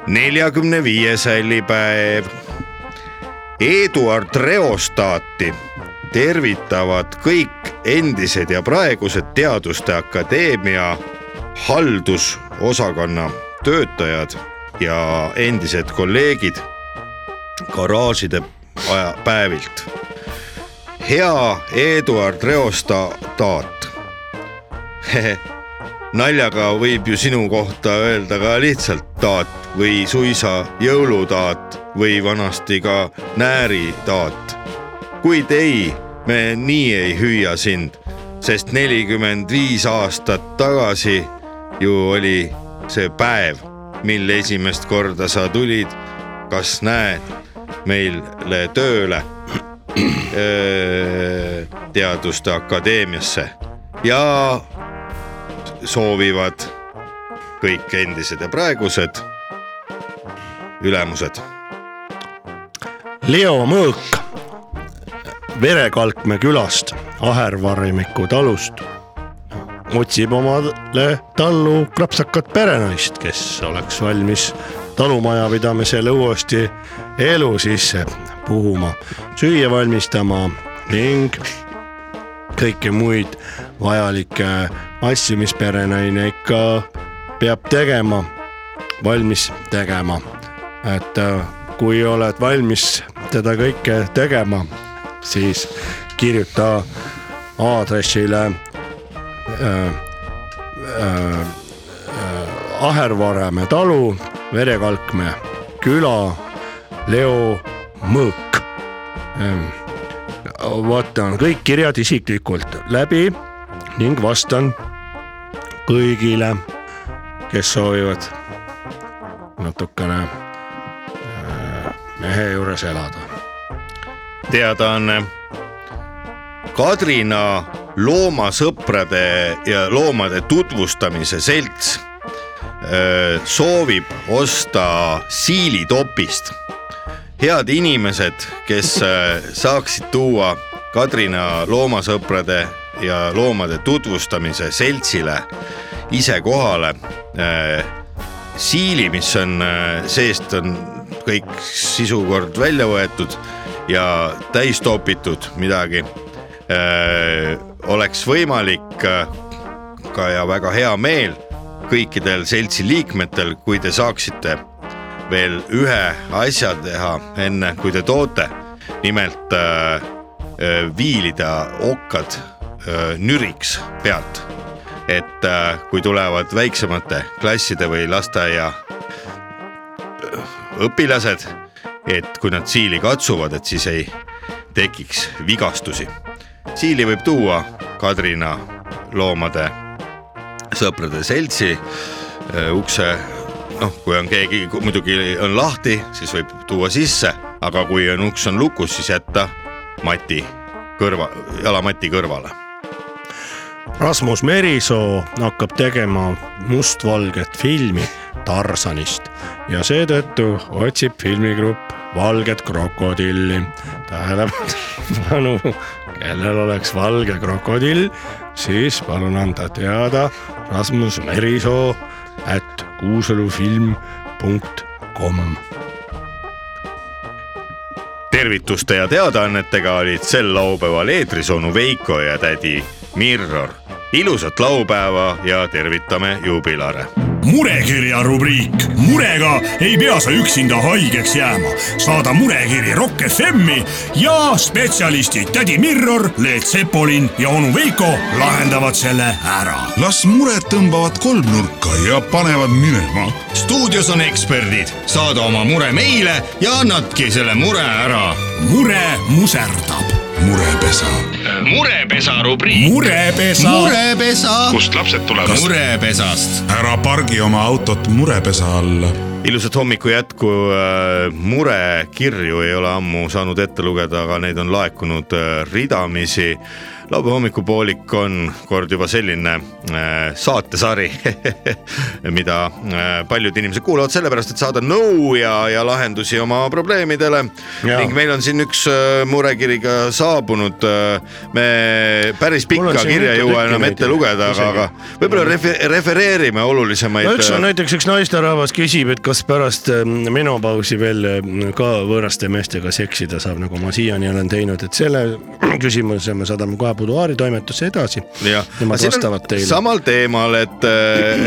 S1: neljakümne viies hällipäev . Eduard Reostaati tervitavad kõik endised ja praegused Teaduste Akadeemia haldusosakonna töötajad ja endised kolleegid garaažide aja päevilt . hea Eduard Reostaat <laughs> naljaga võib ju sinu kohta öelda ka lihtsalt taat või suisa jõulutaat või vanasti ka nääritaat . kuid ei , me nii ei hüüa sind , sest nelikümmend viis aastat tagasi ju oli see päev , mil esimest korda sa tulid , kas näed , meile tööle <clears throat> öö, Teaduste Akadeemiasse ja soovivad kõik endised ja praegused ülemused .
S2: Leo Mõõk Verekalkme külast , Ahervarimiku talust otsib omale tallu krapsakat perenaist , kes oleks valmis talumajapidamisele uuesti elu sisse puhuma , süüa valmistama ning kõiki muid vajalikke asju , mis perenaine ikka peab tegema , valmis tegema . et äh, kui oled valmis seda kõike tegema , siis kirjuta aadressile äh, Ahervaremäe äh, talu , Verekalkme küla , Leo Mõõk . vaatan kõik kirjad isiklikult läbi ning vastan kõigile , kes soovivad natukene äh, mehe juures elada .
S1: teadaanne Kadrina loomasõprade ja loomade tutvustamise selts öö, soovib osta siilitopist . head inimesed , kes öö, saaksid tuua Kadrina loomasõprade ja loomade tutvustamise seltsile ise kohale öö, siili , mis on äh, seest on kõik sisukord välja võetud ja täis topitud midagi . oleks võimalik äh, ka ja väga hea meel kõikidel seltsi liikmetel , kui te saaksite veel ühe asja teha enne , kui te toote . nimelt äh, äh, viilida okkad äh, nüriks pealt et äh, kui tulevad väiksemate klasside või lasteaia äh, õpilased , et kui nad siili katsuvad , et siis ei tekiks vigastusi . siili võib tuua Kadrina loomade sõprade seltsi äh, ukse , noh , kui on keegi , muidugi on lahti , siis võib tuua sisse , aga kui on uks on lukus , siis jätta mati kõrva , jalamati kõrvale
S2: Rasmus Merisoo hakkab tegema mustvalget filmi Tarsanist ja seetõttu otsib filmigrupp Valget krokodilli . tähelepanu , kellel oleks valge krokodill , siis palun anda teada Rasmus Merisoo at kuuselufilm punkt kom .
S1: tervituste ja teadaannetega olid sel laupäeval eetris onu Veiko ja tädi Mirror . ilusat laupäeva ja tervitame juubilare
S4: murekirja rubriik . murega ei pea sa üksinda haigeks jääma . saada murekiri Rock FM-i ja spetsialistid tädi Mirror , Leet Sepolin ja onu Veiko lahendavad selle ära
S6: las mured tõmbavad kolmnurka ja panevad minema
S7: stuudios on eksperdid , saada oma mure meile ja annadki selle mure ära .
S4: mure muserdab ,
S6: murepesa .
S7: murepesa rubriik .
S4: murepesa mure. .
S7: murepesa . kust lapsed tulevad ? murepesast .
S6: ära pargi oma autot murepesa alla .
S1: ilusat hommiku jätku , murekirju ei ole ammu saanud ette lugeda , aga neid on laekunud äh, ridamisi . laupäeva hommikupoolik on kord juba selline äh, saatesari , <laughs> mida äh, paljud inimesed kuulavad sellepärast , et saada nõu ja , ja lahendusi oma probleemidele .
S2: Jaa.
S1: ning meil on siin üks äh, murekiri ka saabunud . me päris
S2: Mul on
S1: pikka
S2: siin
S1: kirja ei
S2: mitu
S1: jõua
S2: tükki
S1: enam
S2: neid
S1: ette lugeda , aga ,
S2: isegi.
S1: aga võib-olla refe- refereerime olulisemaid . äh,
S2: no üks on näiteks üks naisterahvas küsib , et kas pärast ähm, menopausi veel ähm, ka võõraste meestega seksida saab , nagu ma siiani olen teinud , et selle küsimuse me saadame kohe Buduaari toimetusse edasi .
S1: jah ,
S2: Nemad vastavad teile .
S1: samal teemal , et ,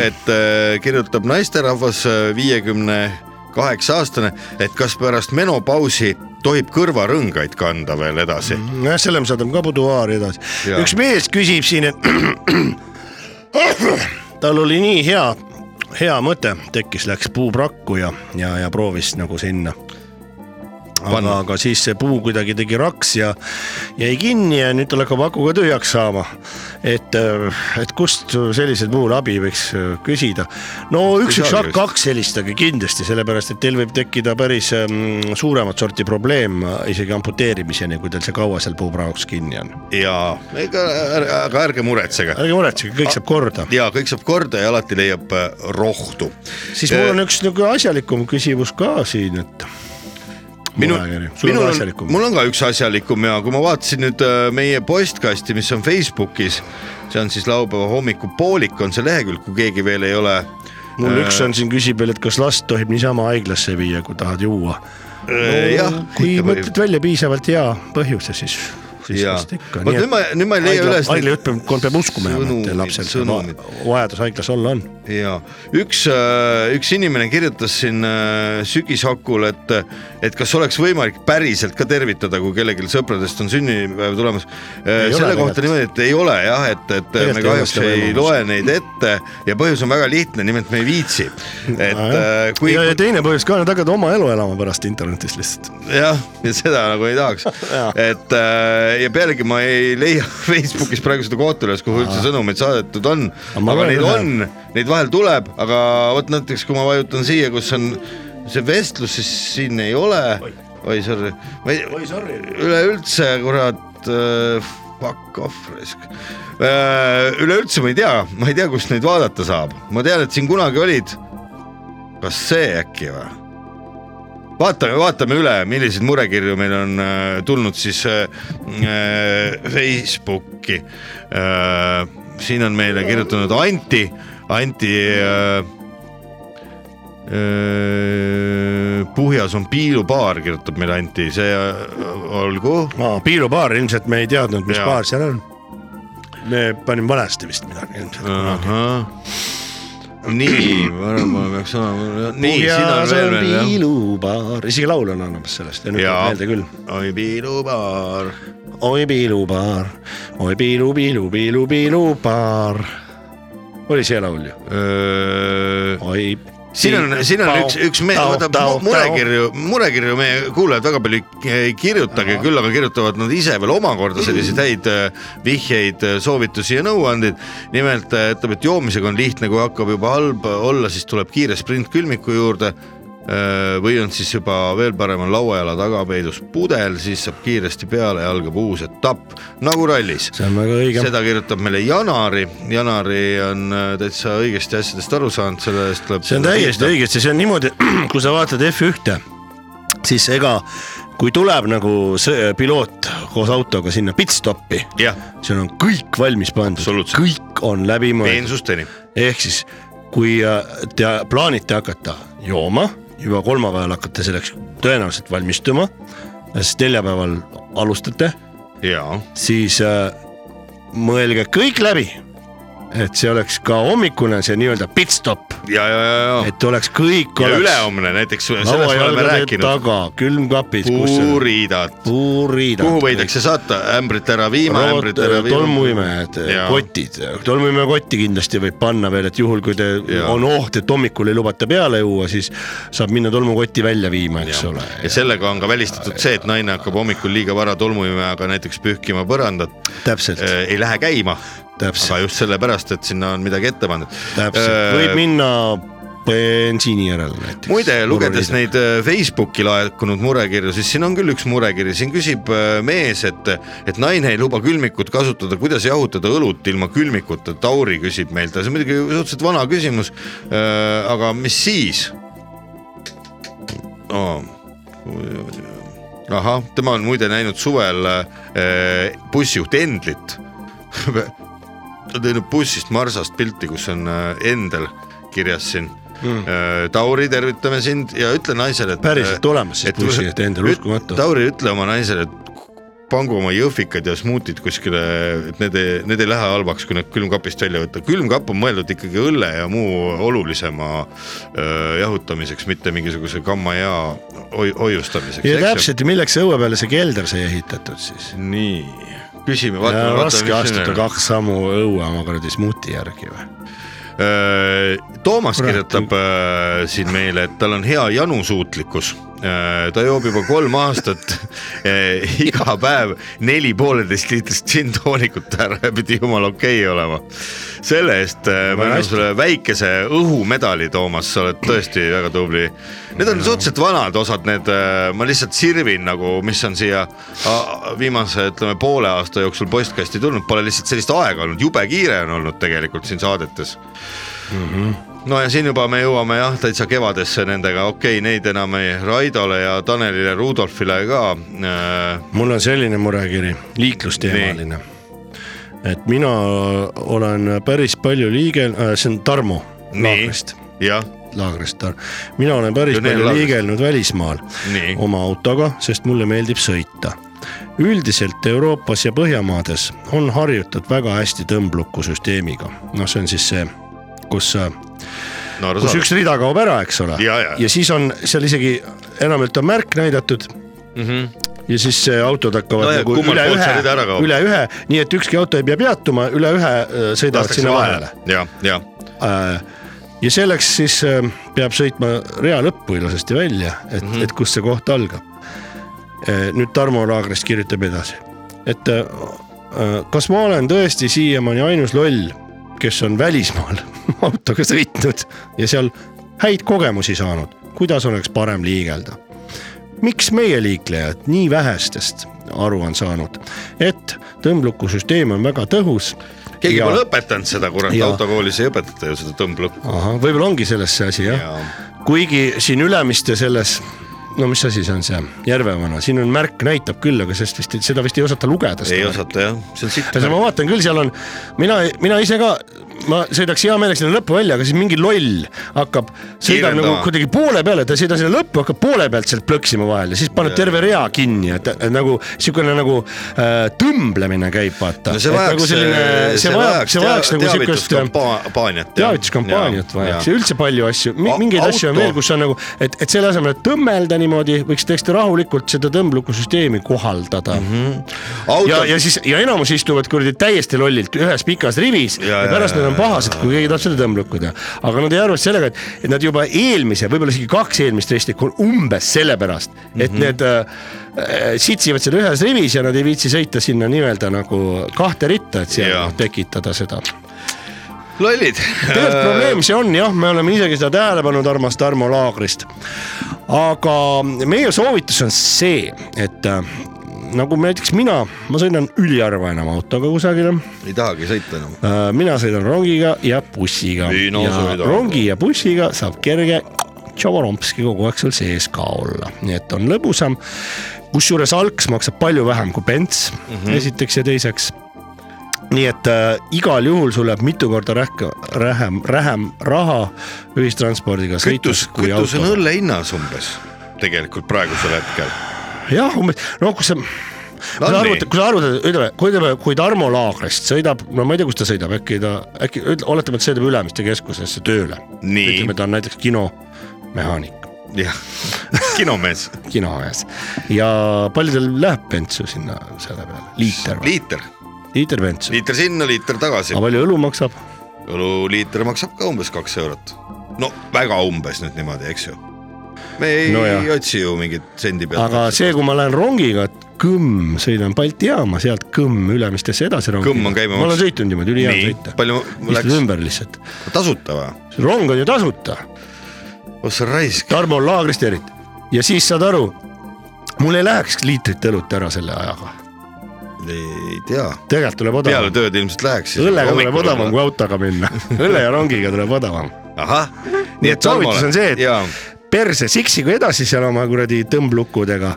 S1: et äh, kirjutab naisterahvas äh, viiekümne kaheksa aastane , et kas pärast menopausi tohib kõrvarõngaid kanda veel edasi mm .
S2: nojah , selle me saadame ka buduaari edasi
S1: Jaa. .
S2: üks mees küsib siin , et <clears throat> tal oli nii hea , hea mõte tekkis , läks puuprakku ja , ja , ja proovis nagu sinna . aga ,
S1: Panna.
S2: aga siis see puu kuidagi tegi raks ja jäi kinni ja nüüd tal hakkab aku ka tühjaks saama . et , et kust sellisel puhul abi võiks äh, küsida . no üks , üks ,
S1: saagi vist.
S2: kaks helistage kindlasti , sellepärast et teil võib tekkida päris ähm, suuremat sorti probleem äh, isegi amputeerimiseni , kui teil see kaua seal puupraoks kinni on .
S1: ja ega , aga ärge muretsege
S2: ärge muretsege , kõik saab korda .
S1: ja kõik saab korda ja alati leiab äh, rohtu .
S2: siis mul on üks niisugune asjalikum küsimus ka siin , et .
S1: minu ,
S2: sul
S1: minul
S2: on
S1: on ,
S2: asjalikum .
S1: mul on ka üks asjalikum ja kui ma vaatasin nüüd äh, meie postkasti , mis on Facebookis , see on siis laupäeva hommikupoolik on see lehekülg , kui keegi veel ei ole .
S2: mul
S1: Äh.
S2: üks on siin küsib veel , et kas last tohib niisama haiglasse viia , kui tahad juua .
S1: jah ,
S2: Äh, kui mõtled välja piisavalt hea põhjuse , siis , siis
S1: Jaa.
S2: vast ikka .
S1: Vot nüüd ma- nüüd ma ei leia üles neid
S2: haiglajuht peab , peab uskuma jääma , et
S1: sõnumid-
S2: lapsel see
S1: sõnumid.
S2: va- vajadus haiglas olla on .
S1: ja üks , üks inimene kirjutas siin äh, sügishakul , et , et kas oleks võimalik päriselt ka tervitada , kui kellelgi sõpradest on sünnipäev tulemas .
S2: Ei ole
S1: selle kohta
S2: tegelikult.
S1: niimoodi , et ei ole jah , et , et
S2: Tegelikult
S1: me
S2: ei ole
S1: kahjuks
S2: seda
S1: ei
S2: võimalust.
S1: loe neid ette ja põhjus on väga lihtne , nimelt me ei
S2: <laughs>
S1: viitsi . et äh,
S2: Nojah.
S1: kui
S2: ja , ja teine põhjus ka , nad hakkavad oma elu elama pärast internetis lihtsalt .
S1: jah , ja seda nagu ei tahaks , et äh, ja pealegi ma ei leia <laughs> Facebookis praegu seda kohta üles , kuhu üldse sõnumeid saadetud on ,
S2: ma
S1: aga
S2: loen
S1: neid
S2: ühe.
S1: on , neid vahel tuleb , aga vot näiteks kui ma vajutan siia , kus on see vestlus , siis siin ei ole . oi , sorry , ma ei , üleüldse kurat äh, , fuck off raisk . üleüldse ma ei tea , ma ei tea , kust neid vaadata saab , ma tean , et siin kunagi olid , kas see äkki või ? vaatame , vaatame üle , milliseid murekirju meil on äh, tulnud siis äh, äh, Facebooki äh, . siin on meile kirjutanud Anti , Anti äh, . Äh, puhjas on piilupaar , kirjutab meile Anti , see äh, olgu .
S2: aa , piilupaar ilmselt me ei teadnud , mis
S1: Jaa.
S2: ja. paar seal on . me panime valesti vist midagi ilmselt kunagi .
S1: nii , varem ma peaks olema , nii , siin on
S2: puhjas
S1: veel
S2: on
S1: veel jah .
S2: piilupaar , isegi laul on olemas sellest ja nüüd
S1: Jaa.
S2: tuleb meelde küll .
S1: oi piilupaar ,
S2: oi piilupaar , oi piilu , piilu , piilu , piilupaar . oli see laul ju ?
S1: Äh,
S2: oi .
S1: siin on , siin on üks , üks mees , vaata mu- murekirju , murekirju meie kuulajad väga palju ei ei kirjutagi , küll aga kirjutavad nad ise veel omakorda selliseid häid äh, vihjeid , soovitusi ja nõuandeid . nimelt äh, ütleb , et joomisega on lihtne , kui hakkab juba halb äh, olla , siis tuleb kiire sprint külmiku juurde . või on siis juba veel parem , on lauajala taga peidus pudel , siis saab kiiresti peale ja algab uus etapp nagu rallis
S2: see on väga õige .
S1: seda kirjutab meile Janari , Janari on äh, täitsa õigesti asjadest aru saanud , selle eest tuleb .
S2: see on täiesti . õigesti , see on niimoodi , <clears throat> kui sa vaatad F1-e , siis ega kui tuleb nagu see piloot koos autoga sinna pit stop'i ,
S1: jah ,
S2: seal on kõik valmis pandud ,
S1: Absoluutselt.
S2: kõik on läbi mõeldud ,
S1: peensusteni ,
S2: ehk siis kui äh, te plaanite hakata jooma , juba kolmapäeval hakkate selleks tõenäoliselt valmistuma , sest neljapäeval alustate ,
S1: jaa .
S2: siis äh, mõelge kõik läbi , et see oleks ka hommikune see nii-öelda pit stop
S1: ja , ja , ja , ja ,
S2: et oleks kõik
S1: ja
S2: oleks .
S1: ülehomne näiteks , sellest me oleme
S2: lauajalgade
S1: rääkinud .
S2: taga , külmkapid , kus on
S1: puuriidad ,
S2: puuriidad .
S1: kuhu võidakse saata ämbrit ära viima , ämbrit ära
S2: äh,
S1: viima .
S2: tolmuimed
S1: Jaa. ,
S2: kotid , tolmuimekotti kindlasti võib panna veel , et juhul , kui te ,
S1: Jaa.
S2: on oht , et hommikul ei lubata peale juua , siis saab minna tolmukotti välja viima , eks ole .
S1: ja sellega on ka välistatud see , et naine hakkab hommikul liiga vara tolmuimejaga näiteks pühkima põrandat ,
S2: täpselt ,
S1: ei lähe käima ,
S2: täpselt ,
S1: aga just sellepärast , et sinna on midagi ette pandud . Äh,
S2: täpselt , võib minna bensiini järele näiteks .
S1: muide , lugedes . neid äh, Facebooki laekunud murekirju , siis siin on küll üks murekiri , siin küsib äh, mees , et , et naine ei luba külmikut kasutada , kuidas jahutada õlut ilma külmikuta , Tauri küsib meilt , see on muidugi suhteliselt vana küsimus . aga mis siis oh. ? ahah , tema on muide näinud suvel äh, bussijuht Endlit ta on teinud bussist Marsast pilti , kus on äh, Endel kirjas siin mm. . Tauri , tervitame sind ja ütle naisele , et .
S2: Hmm. Päriselt olemas siis bussijuht Endel, uskumatu.
S1: Tauri , ütle oma naisele , et pangu oma jõhvikad ja smuutid kuskile , et need ei , need ei lähe halvaks , kui need külmkapist välja võtta . külmkapp on mõeldud ikkagi õlle ja muu olulisema öö, jahutamiseks , mitte mingisuguse kamma ja hoi- hoiustamiseks .
S2: ja täpselt , milleks õue peale see kelder sai ehitatud siis ?
S1: nii , küsime .
S2: raske astuda kaks sammu õue oma kuradi smuuti järgi või ?
S1: Toomas kirjutab äh, siin meile , et tal on hea janusuutlikkus . ta joob juba kolm aastat <laughs> äh, iga päev neli pooleteist liitrist džinntoonikut ära ja pidi jumala okei olema . selle eest äh, ma annan sulle väikese õhumedali , Toomas , sa oled tõesti väga tubli . Need on suhteliselt vanad osad , need äh, ma lihtsalt sirvin nagu , mis on siia a- viimase , ütleme poole aasta jooksul postkasti tulnud , pole lihtsalt sellist aega olnud , jube kiire on olnud tegelikult siin saadetes no ja siin juba me jõuame jah , täitsa kevadesse nendega , okei okay, , neid enam ei , Raidole ja Tanelile , Rudolfile ka äh, .
S2: mul on selline murekiri , liiklusteemaline . et mina olen päris palju liigel- , see on Tarmo
S1: Nii.
S2: Laagrist ,
S1: jah ,
S2: Laagrist Tarmo . mina olen päris
S1: Pioneer
S2: palju
S1: Laagrist.
S2: liigelnud välismaal
S1: Nii.
S2: oma autoga , sest mulle meeldib sõita üldiselt Euroopas ja Põhjamaades on harjutud väga hästi tõmblukusüsteemiga , noh , see on siis see , kus sa
S1: no aru
S2: kus
S1: saab ,
S2: üks rida kaob ära , eks ole .
S1: Ja, ja.
S2: ja siis on seal isegi enamjaolt on märk näidatud mm . -hmm. ja siis eh, autod hakkavad
S1: Mhm. No ja
S2: nagu
S1: kummalt
S2: üle
S1: poolt see rida
S2: ühe
S1: ära , kaob?
S2: üle ühe , nii et ükski auto ei pea peatuma , üle ühe eh, sõidavad
S1: lastakse
S2: sinna
S1: vahele
S2: vahele .
S1: ja , ja
S2: Äh, ja selleks siis eh, peab sõitma rea lõppu ilusasti välja , et
S1: Mhm.
S2: mm , -hmm. et kust see koht algab . nüüd Tarmo Laagrist kirjutab edasi , et eh, eh, kas ma olen tõesti siiamaani ainus loll , kes on välismaal <laughs> autoga sõitnud ja seal häid kogemusi saanud , kuidas oleks parem liigelda ? miks meie liiklejad nii vähestest aru on saanud , et tõmblukusüsteem on väga tõhus .
S1: keegi ja. pole õpetanud seda , kurat ,
S2: Ja.
S1: autokoolis ei õpetata ju seda tõmblukku .
S2: ahah , võib-olla ongi selles see asi jah
S1: Jaa. ,
S2: kuigi siin Ülemiste selles , no mis asi see on see , Järvevana , siin on märk näitab küll , aga sellest vist , seda vist ei osata lugeda .
S1: ei . osata jah , see on sitt .
S2: ma vaatan küll , seal on , mina , mina ise ka , ma sõidaks hea meelega sinna lõppu välja , aga siis mingi loll hakkab , sõidab
S1: Kiirendama.
S2: nagu kuidagi poole peale , ta ei sõida sinna lõppu , hakkab poole pealt sealt plõksima vahel ja siis paneb terve rea kinni , et et nagu niisugune nagu äh, tõmblemine käib , vaata .
S1: no see vajaks ,
S2: nagu
S1: äh,
S2: see vajaks , see vajaks nagu niisugust
S1: teavituskampaaniat .
S2: teavituskampaaniat vajaks ja üldse palju asju ,
S1: A-
S2: mingeid asju on
S1: auto-
S2: veel , kus on nagu , et , et selle asemel , et tõmmelda niimoodi , võiks täiesti rahulikult seda tõmblukusüsteemi kohaldada mm . -hmm. ja ,
S1: Mhm. auto
S2: ja siis ja enamus istuvad kuradi täiesti lollilt ühes pikas rivis ja,
S1: Ja,
S2: ja
S1: ja,
S2: pärast
S1: ja,
S2: nad on
S1: ja,
S2: pahased , kui keegi tahab seda tõmbluku teha . aga nad ei arvesta sellega , et , et nad juba eelmise , võib-olla isegi kaks eelmist ristlikku on umbes sellepärast , et
S1: Mhm.
S2: mm -hmm. need äh, sitsivad seal ühes rivis ja nad ei viitsi sõita sinna nii-öelda nagu kahte ritta , et seal
S1: Jaa.
S2: noh, tekitada seda
S1: lollid .
S2: tegelikult probleem see on jah , me oleme isegi seda tähele pannud , armas Tarmo Laagrist . aga meie soovitus on see , et äh, nagu näiteks mina , ma sõidan üliharva enam autoga kusagile
S1: ei tahagi sõita enam .
S2: Äh, mina sõidan rongiga ja bussiga
S1: Mina
S2: ja
S1: sõidan.
S2: rongi ja bussiga saab kerge tšavorompski kogu aeg sul sees ka olla , nii et on lõbusam . kusjuures alks maksab palju vähem kui bens mm , -hmm. esiteks ja teiseks . nii et äh, igal juhul sul jääb mitu korda rähk- , rähem , rähem raha ühistranspordiga
S1: kütus
S2: sõites ,, kui
S1: kütus on
S2: autoga .
S1: õlle hinnas umbes tegelikult praegusel hetkel
S2: jah , umbes , no kui sa ,
S1: On
S2: kui sa arvad
S1: nii? ,
S2: kui sa arvad , ütleme , kui ütleme , kui Tarmo Laagrist sõidab , no ma ei tea , kus ta sõidab , äkki ta , äkki ütle- oletame , et sõidab Ülemiste keskusesse tööle .
S1: Nii.
S2: ütleme , ta on näiteks kinomehaanik ,
S1: jah , kinomees ,
S2: kino ees ja palju tal läheb bensu sinna selle peale , liiter või ?
S1: liiter ,
S2: liiter bensu ,
S1: liiter sinna , liiter tagasi
S2: aga . palju õlu maksab ?
S1: õluliiter maksab ka umbes kaks eurot . no väga umbes nüüd niimoodi , eks ju . me ei no
S2: Nojah.
S1: otsi ju mingit sendi pealt .
S2: aga see , kui ma lähen rongiga , et Kõmm , sõidan Balti jaama , sealt Kõmm Ülemistesse edasi rongiga .
S1: Kõmm on käibemaks.
S2: ma olen sõitnud niimoodi , ülihea
S1: Nii,
S2: sõita .
S1: palju
S2: läks ?
S1: läks?
S2: istud ümber lihtsalt ,
S1: tasuta või ?
S2: rong on ju tasuta
S1: oh sa raisk .
S2: Tarmo Laagrist eriti ja siis saad aru , mul ei läheks liitrit õlut ära selle ajaga ,
S1: ei tea ,
S2: tegelikult tuleb
S1: peale
S2: odavam ,
S1: tööd ilmselt läheks .
S2: õllega tuleb odavam kui . autoga <laughs> minna , õlle ja rongiga tuleb odavam .
S1: ahah ,
S2: nii
S1: nii
S2: et
S1: et
S2: soovitus on see ,
S1: jaa ,
S2: et perse siksigu edasi seal oma kuradi tõmblukkudega ,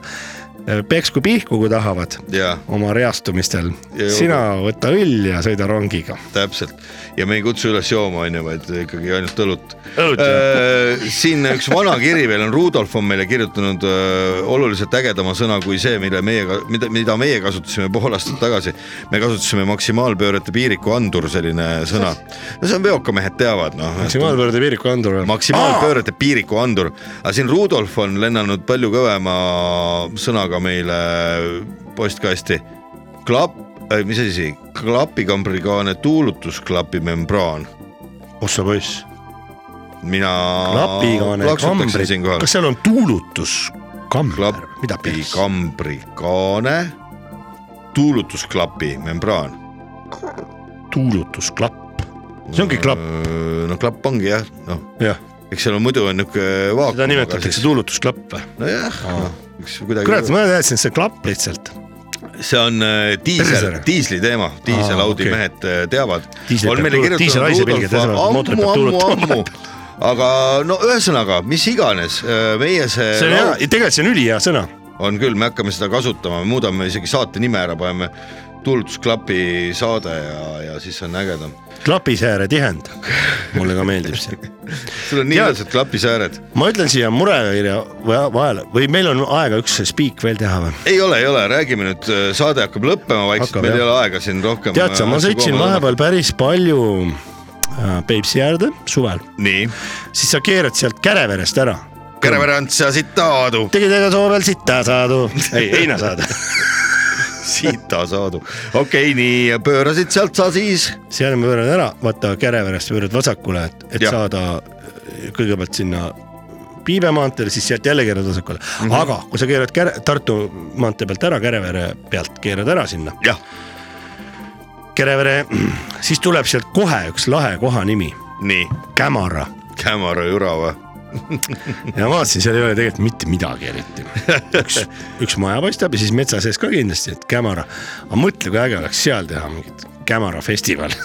S2: peksku pihku , kui tahavad
S1: jaa ,
S2: oma reastumistel
S1: Ja ,
S2: sina võta õll ja sõida rongiga .
S1: täpselt ja me ei kutsu üles jooma , onju , vaid ikkagi ainult õlut .
S2: Õlut,
S1: siin üks vana kiri veel on , Rudolf on meile kirjutanud öö, oluliselt ägedama sõna kui see , mille meie , mida , mida meie kasutasime pool aastat tagasi . me kasutasime maksimaalpöörete piiriku andur , selline sõna . no see on veokamehed teavad , noh .
S2: maksimaalpöörde piiriku andur .
S1: maksimaalpöörete piiriku andur , aga siin Rudolf on lennanud palju kõvema sõnaga meile postkasti . klapp , mis asi see , klapikambrikaane tuulutusklapi membraan ,
S2: ossa poiss .
S1: mina .
S2: klapikaane kambrid , kas seal on tuulutus ? kamber , mida peaks ?
S1: klapikambrikaane tuulutusklapi membraan .
S2: tuulutusklapp , see ongi klapp ,
S1: no klapp ongi jah , noh ,
S2: jah .
S1: eks seal on muidu on niuke vaakum .
S2: seda nimetatakse tuulutusklapp või ?
S1: nojah , noh , eks kuidagi .
S2: kurat , ma teadsin , et see on klapp lihtsalt .
S1: see on äh, diisel
S2: Perser. ,
S1: diisli teema , diiselaudi
S2: okei.
S1: okay. mehed äh, teavad .
S2: Diisel
S1: on
S2: peab
S1: meile
S2: tuul-
S1: kirjutanud
S2: diiselaise pilged,
S1: Rudolf
S2: ühesõnaga,
S1: ammu ,
S2: mootor peab
S1: ammu ,
S2: tuulutama.
S1: ammu , aga no ühesõnaga , mis iganes äh, meie see,
S2: see on hea , tegelikult see on ülihea sõna .
S1: on küll , me hakkame seda kasutama , muudame isegi saate nime ära , paneme tuulutusklapi saade ja , ja siis on ägedam .
S2: klapisääre tihend . mulle ka meeldib see .
S1: sul on nii ilusad klapisääred ,
S2: ma ütlen siia murekirja va- vahele või meil on aega üks spiik veel teha või ?
S1: ei ole , ei ole , räägime nüüd , saade hakkab lõppema vaikselt ,
S2: Hakkab,
S1: meil
S2: jah.
S1: ei ole aega siin rohkem . äh,
S2: tead sa , ma sõitsin . vahepeal päris palju äh, Peipsi äärde suvel ,
S1: nii ,
S2: siis sa keerad sealt Käreverest ära .
S1: Kärevere Ants ja Sita Aadu ,
S2: tegid ega Soomel sita saadu , ei heina saada .
S1: Sita Saadu , okei okay, , nii pöörasid sealt sa siis
S2: seal ma pööran ära , vaata Käreverest pöörad vasakule , et , et ja.
S1: Jah.
S2: saada äh, kõigepealt sinna Piibe maanteele , siis sealt jälle keerad vasakule mm . -hmm. aga kui sa keerad Käre, Tartu maantee pealt ära , Kärevere pealt keerad ära sinna ,
S1: jah ,
S2: Kärevere , <clears throat> siis tuleb sealt kohe üks lahe koha nimi ,
S1: nii ,
S2: Kämara .
S1: Kämara Jüra või ?
S2: ja ma vaatasin , seal ei ole tegelikult mitte midagi eriti . üks , üks maja paistab ja siis metsa sees ka kindlasti , et Kämara . aga mõtle , kui äge oleks seal teha mingit Kämara <laughs> festivali .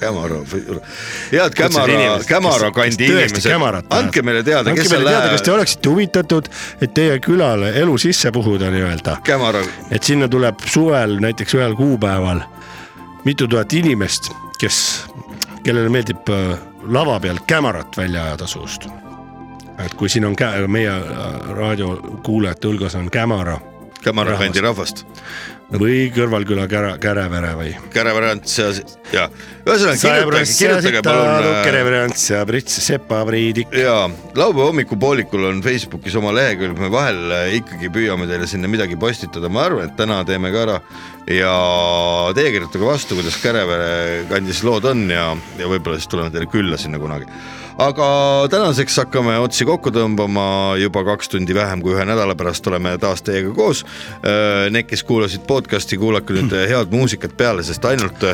S1: Kämara või Jüra . head Kämara
S2: inimesed, , kes-
S1: Kämara
S2: kes
S1: kandi
S2: tõesti
S1: inimesed
S2: Kämarat ,
S1: andke meile teada ,
S2: andke
S1: kes
S2: meile
S1: seal
S2: teada , kas te
S1: läheb .
S2: oleksite huvitatud , et teie külale elu sisse puhuda nii-öelda ,
S1: Kämara ,
S2: et sinna tuleb suvel näiteks ühel kuupäeval mitu tuhat inimest , kes , kellele meeldib äh, lava peal kämarat välja ajada suust . et kui siin on kä- , meie äh, raadiokuulajate hulgas on kämara
S1: Kämara
S2: Rahvast.
S1: kandi rahvast .
S2: või kõrvalküla kära , Kärevere või .
S1: Kärevere Ants ja , ja ühesõnaga Äh, kirjutage , kirjutage palun . äh,
S2: Kärevere Ants ja Prits Sepa Priidik .
S1: ja laupäeva hommikupoolikul on Facebookis oma lehekülg , me vahel äh, ikkagi püüame teile sinna midagi postitada , ma arvan , et täna teeme ka ära . ja teie kirjutage vastu , kuidas Kärevere kandis lood on ja , ja võib-olla siis tuleme teile külla sinna kunagi . aga tänaseks hakkame otsi kokku tõmbama , juba kaks tundi vähem kui ühe nädala pärast oleme taas teiega koos . Need , kes kuulasid podcast'i , kuulake nüüd äh, head muusikat peale , sest ainult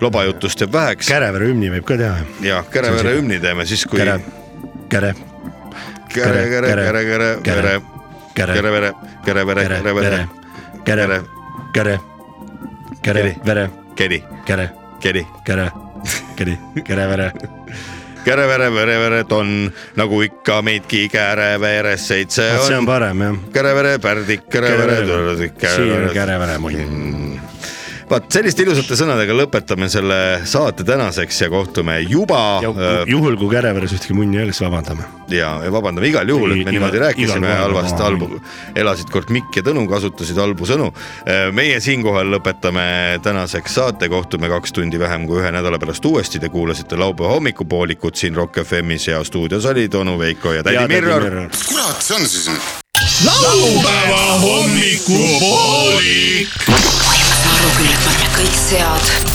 S1: lobajutust jääb väheks
S2: Kärevere hümni võib ka teha .
S1: ja Kärevere hümni teeme siis , kui
S2: Käre , Käre
S1: käre , käre , käre , käre , käre ,
S2: Käre-
S1: käre , vere , käre , vere ,
S2: käre ,
S1: käre , vere
S2: käre ,
S1: Käre. ,
S2: käre käre , käre
S1: Käri. ,
S2: vere ,
S1: keri ,
S2: käre ,
S1: keri ,
S2: käre , käri , käre , vere .
S1: käre , vere , vere , vere , tonn , nagu ikka meidki Käre veres seitse
S2: see on
S1: on .
S2: parem jah .
S1: käre , vere , pärdik , käre , vere ,
S2: siin on
S1: käre , vere .
S2: käre , vere mull .
S1: vaat selliste ilusate sõnadega lõpetame selle saate tänaseks ja kohtume juba äh,
S2: juhul kui Käreveres ühtegi munni ei ole , siis vabandame .
S1: ja ja vabandame igal juhul , et me
S2: Iga-
S1: niimoodi rääkisime
S2: igal korral
S1: halvasti ,
S2: ma-
S1: halbu , elasid kord Mikk ja Tõnu kasutasid halbu sõnu . meie siinkohal lõpetame tänaseks saate , kohtume kaks tundi vähem kui ühe nädala pärast uuesti . Te kuulasite laupäeva hommikupoolikut siin Rock FM-is ja stuudios olid onu Veiko ja tädi Mirror .
S6: kurat , see on siis nüüd ?
S4: laupäeva hommikupoolik .
S5: kõik sead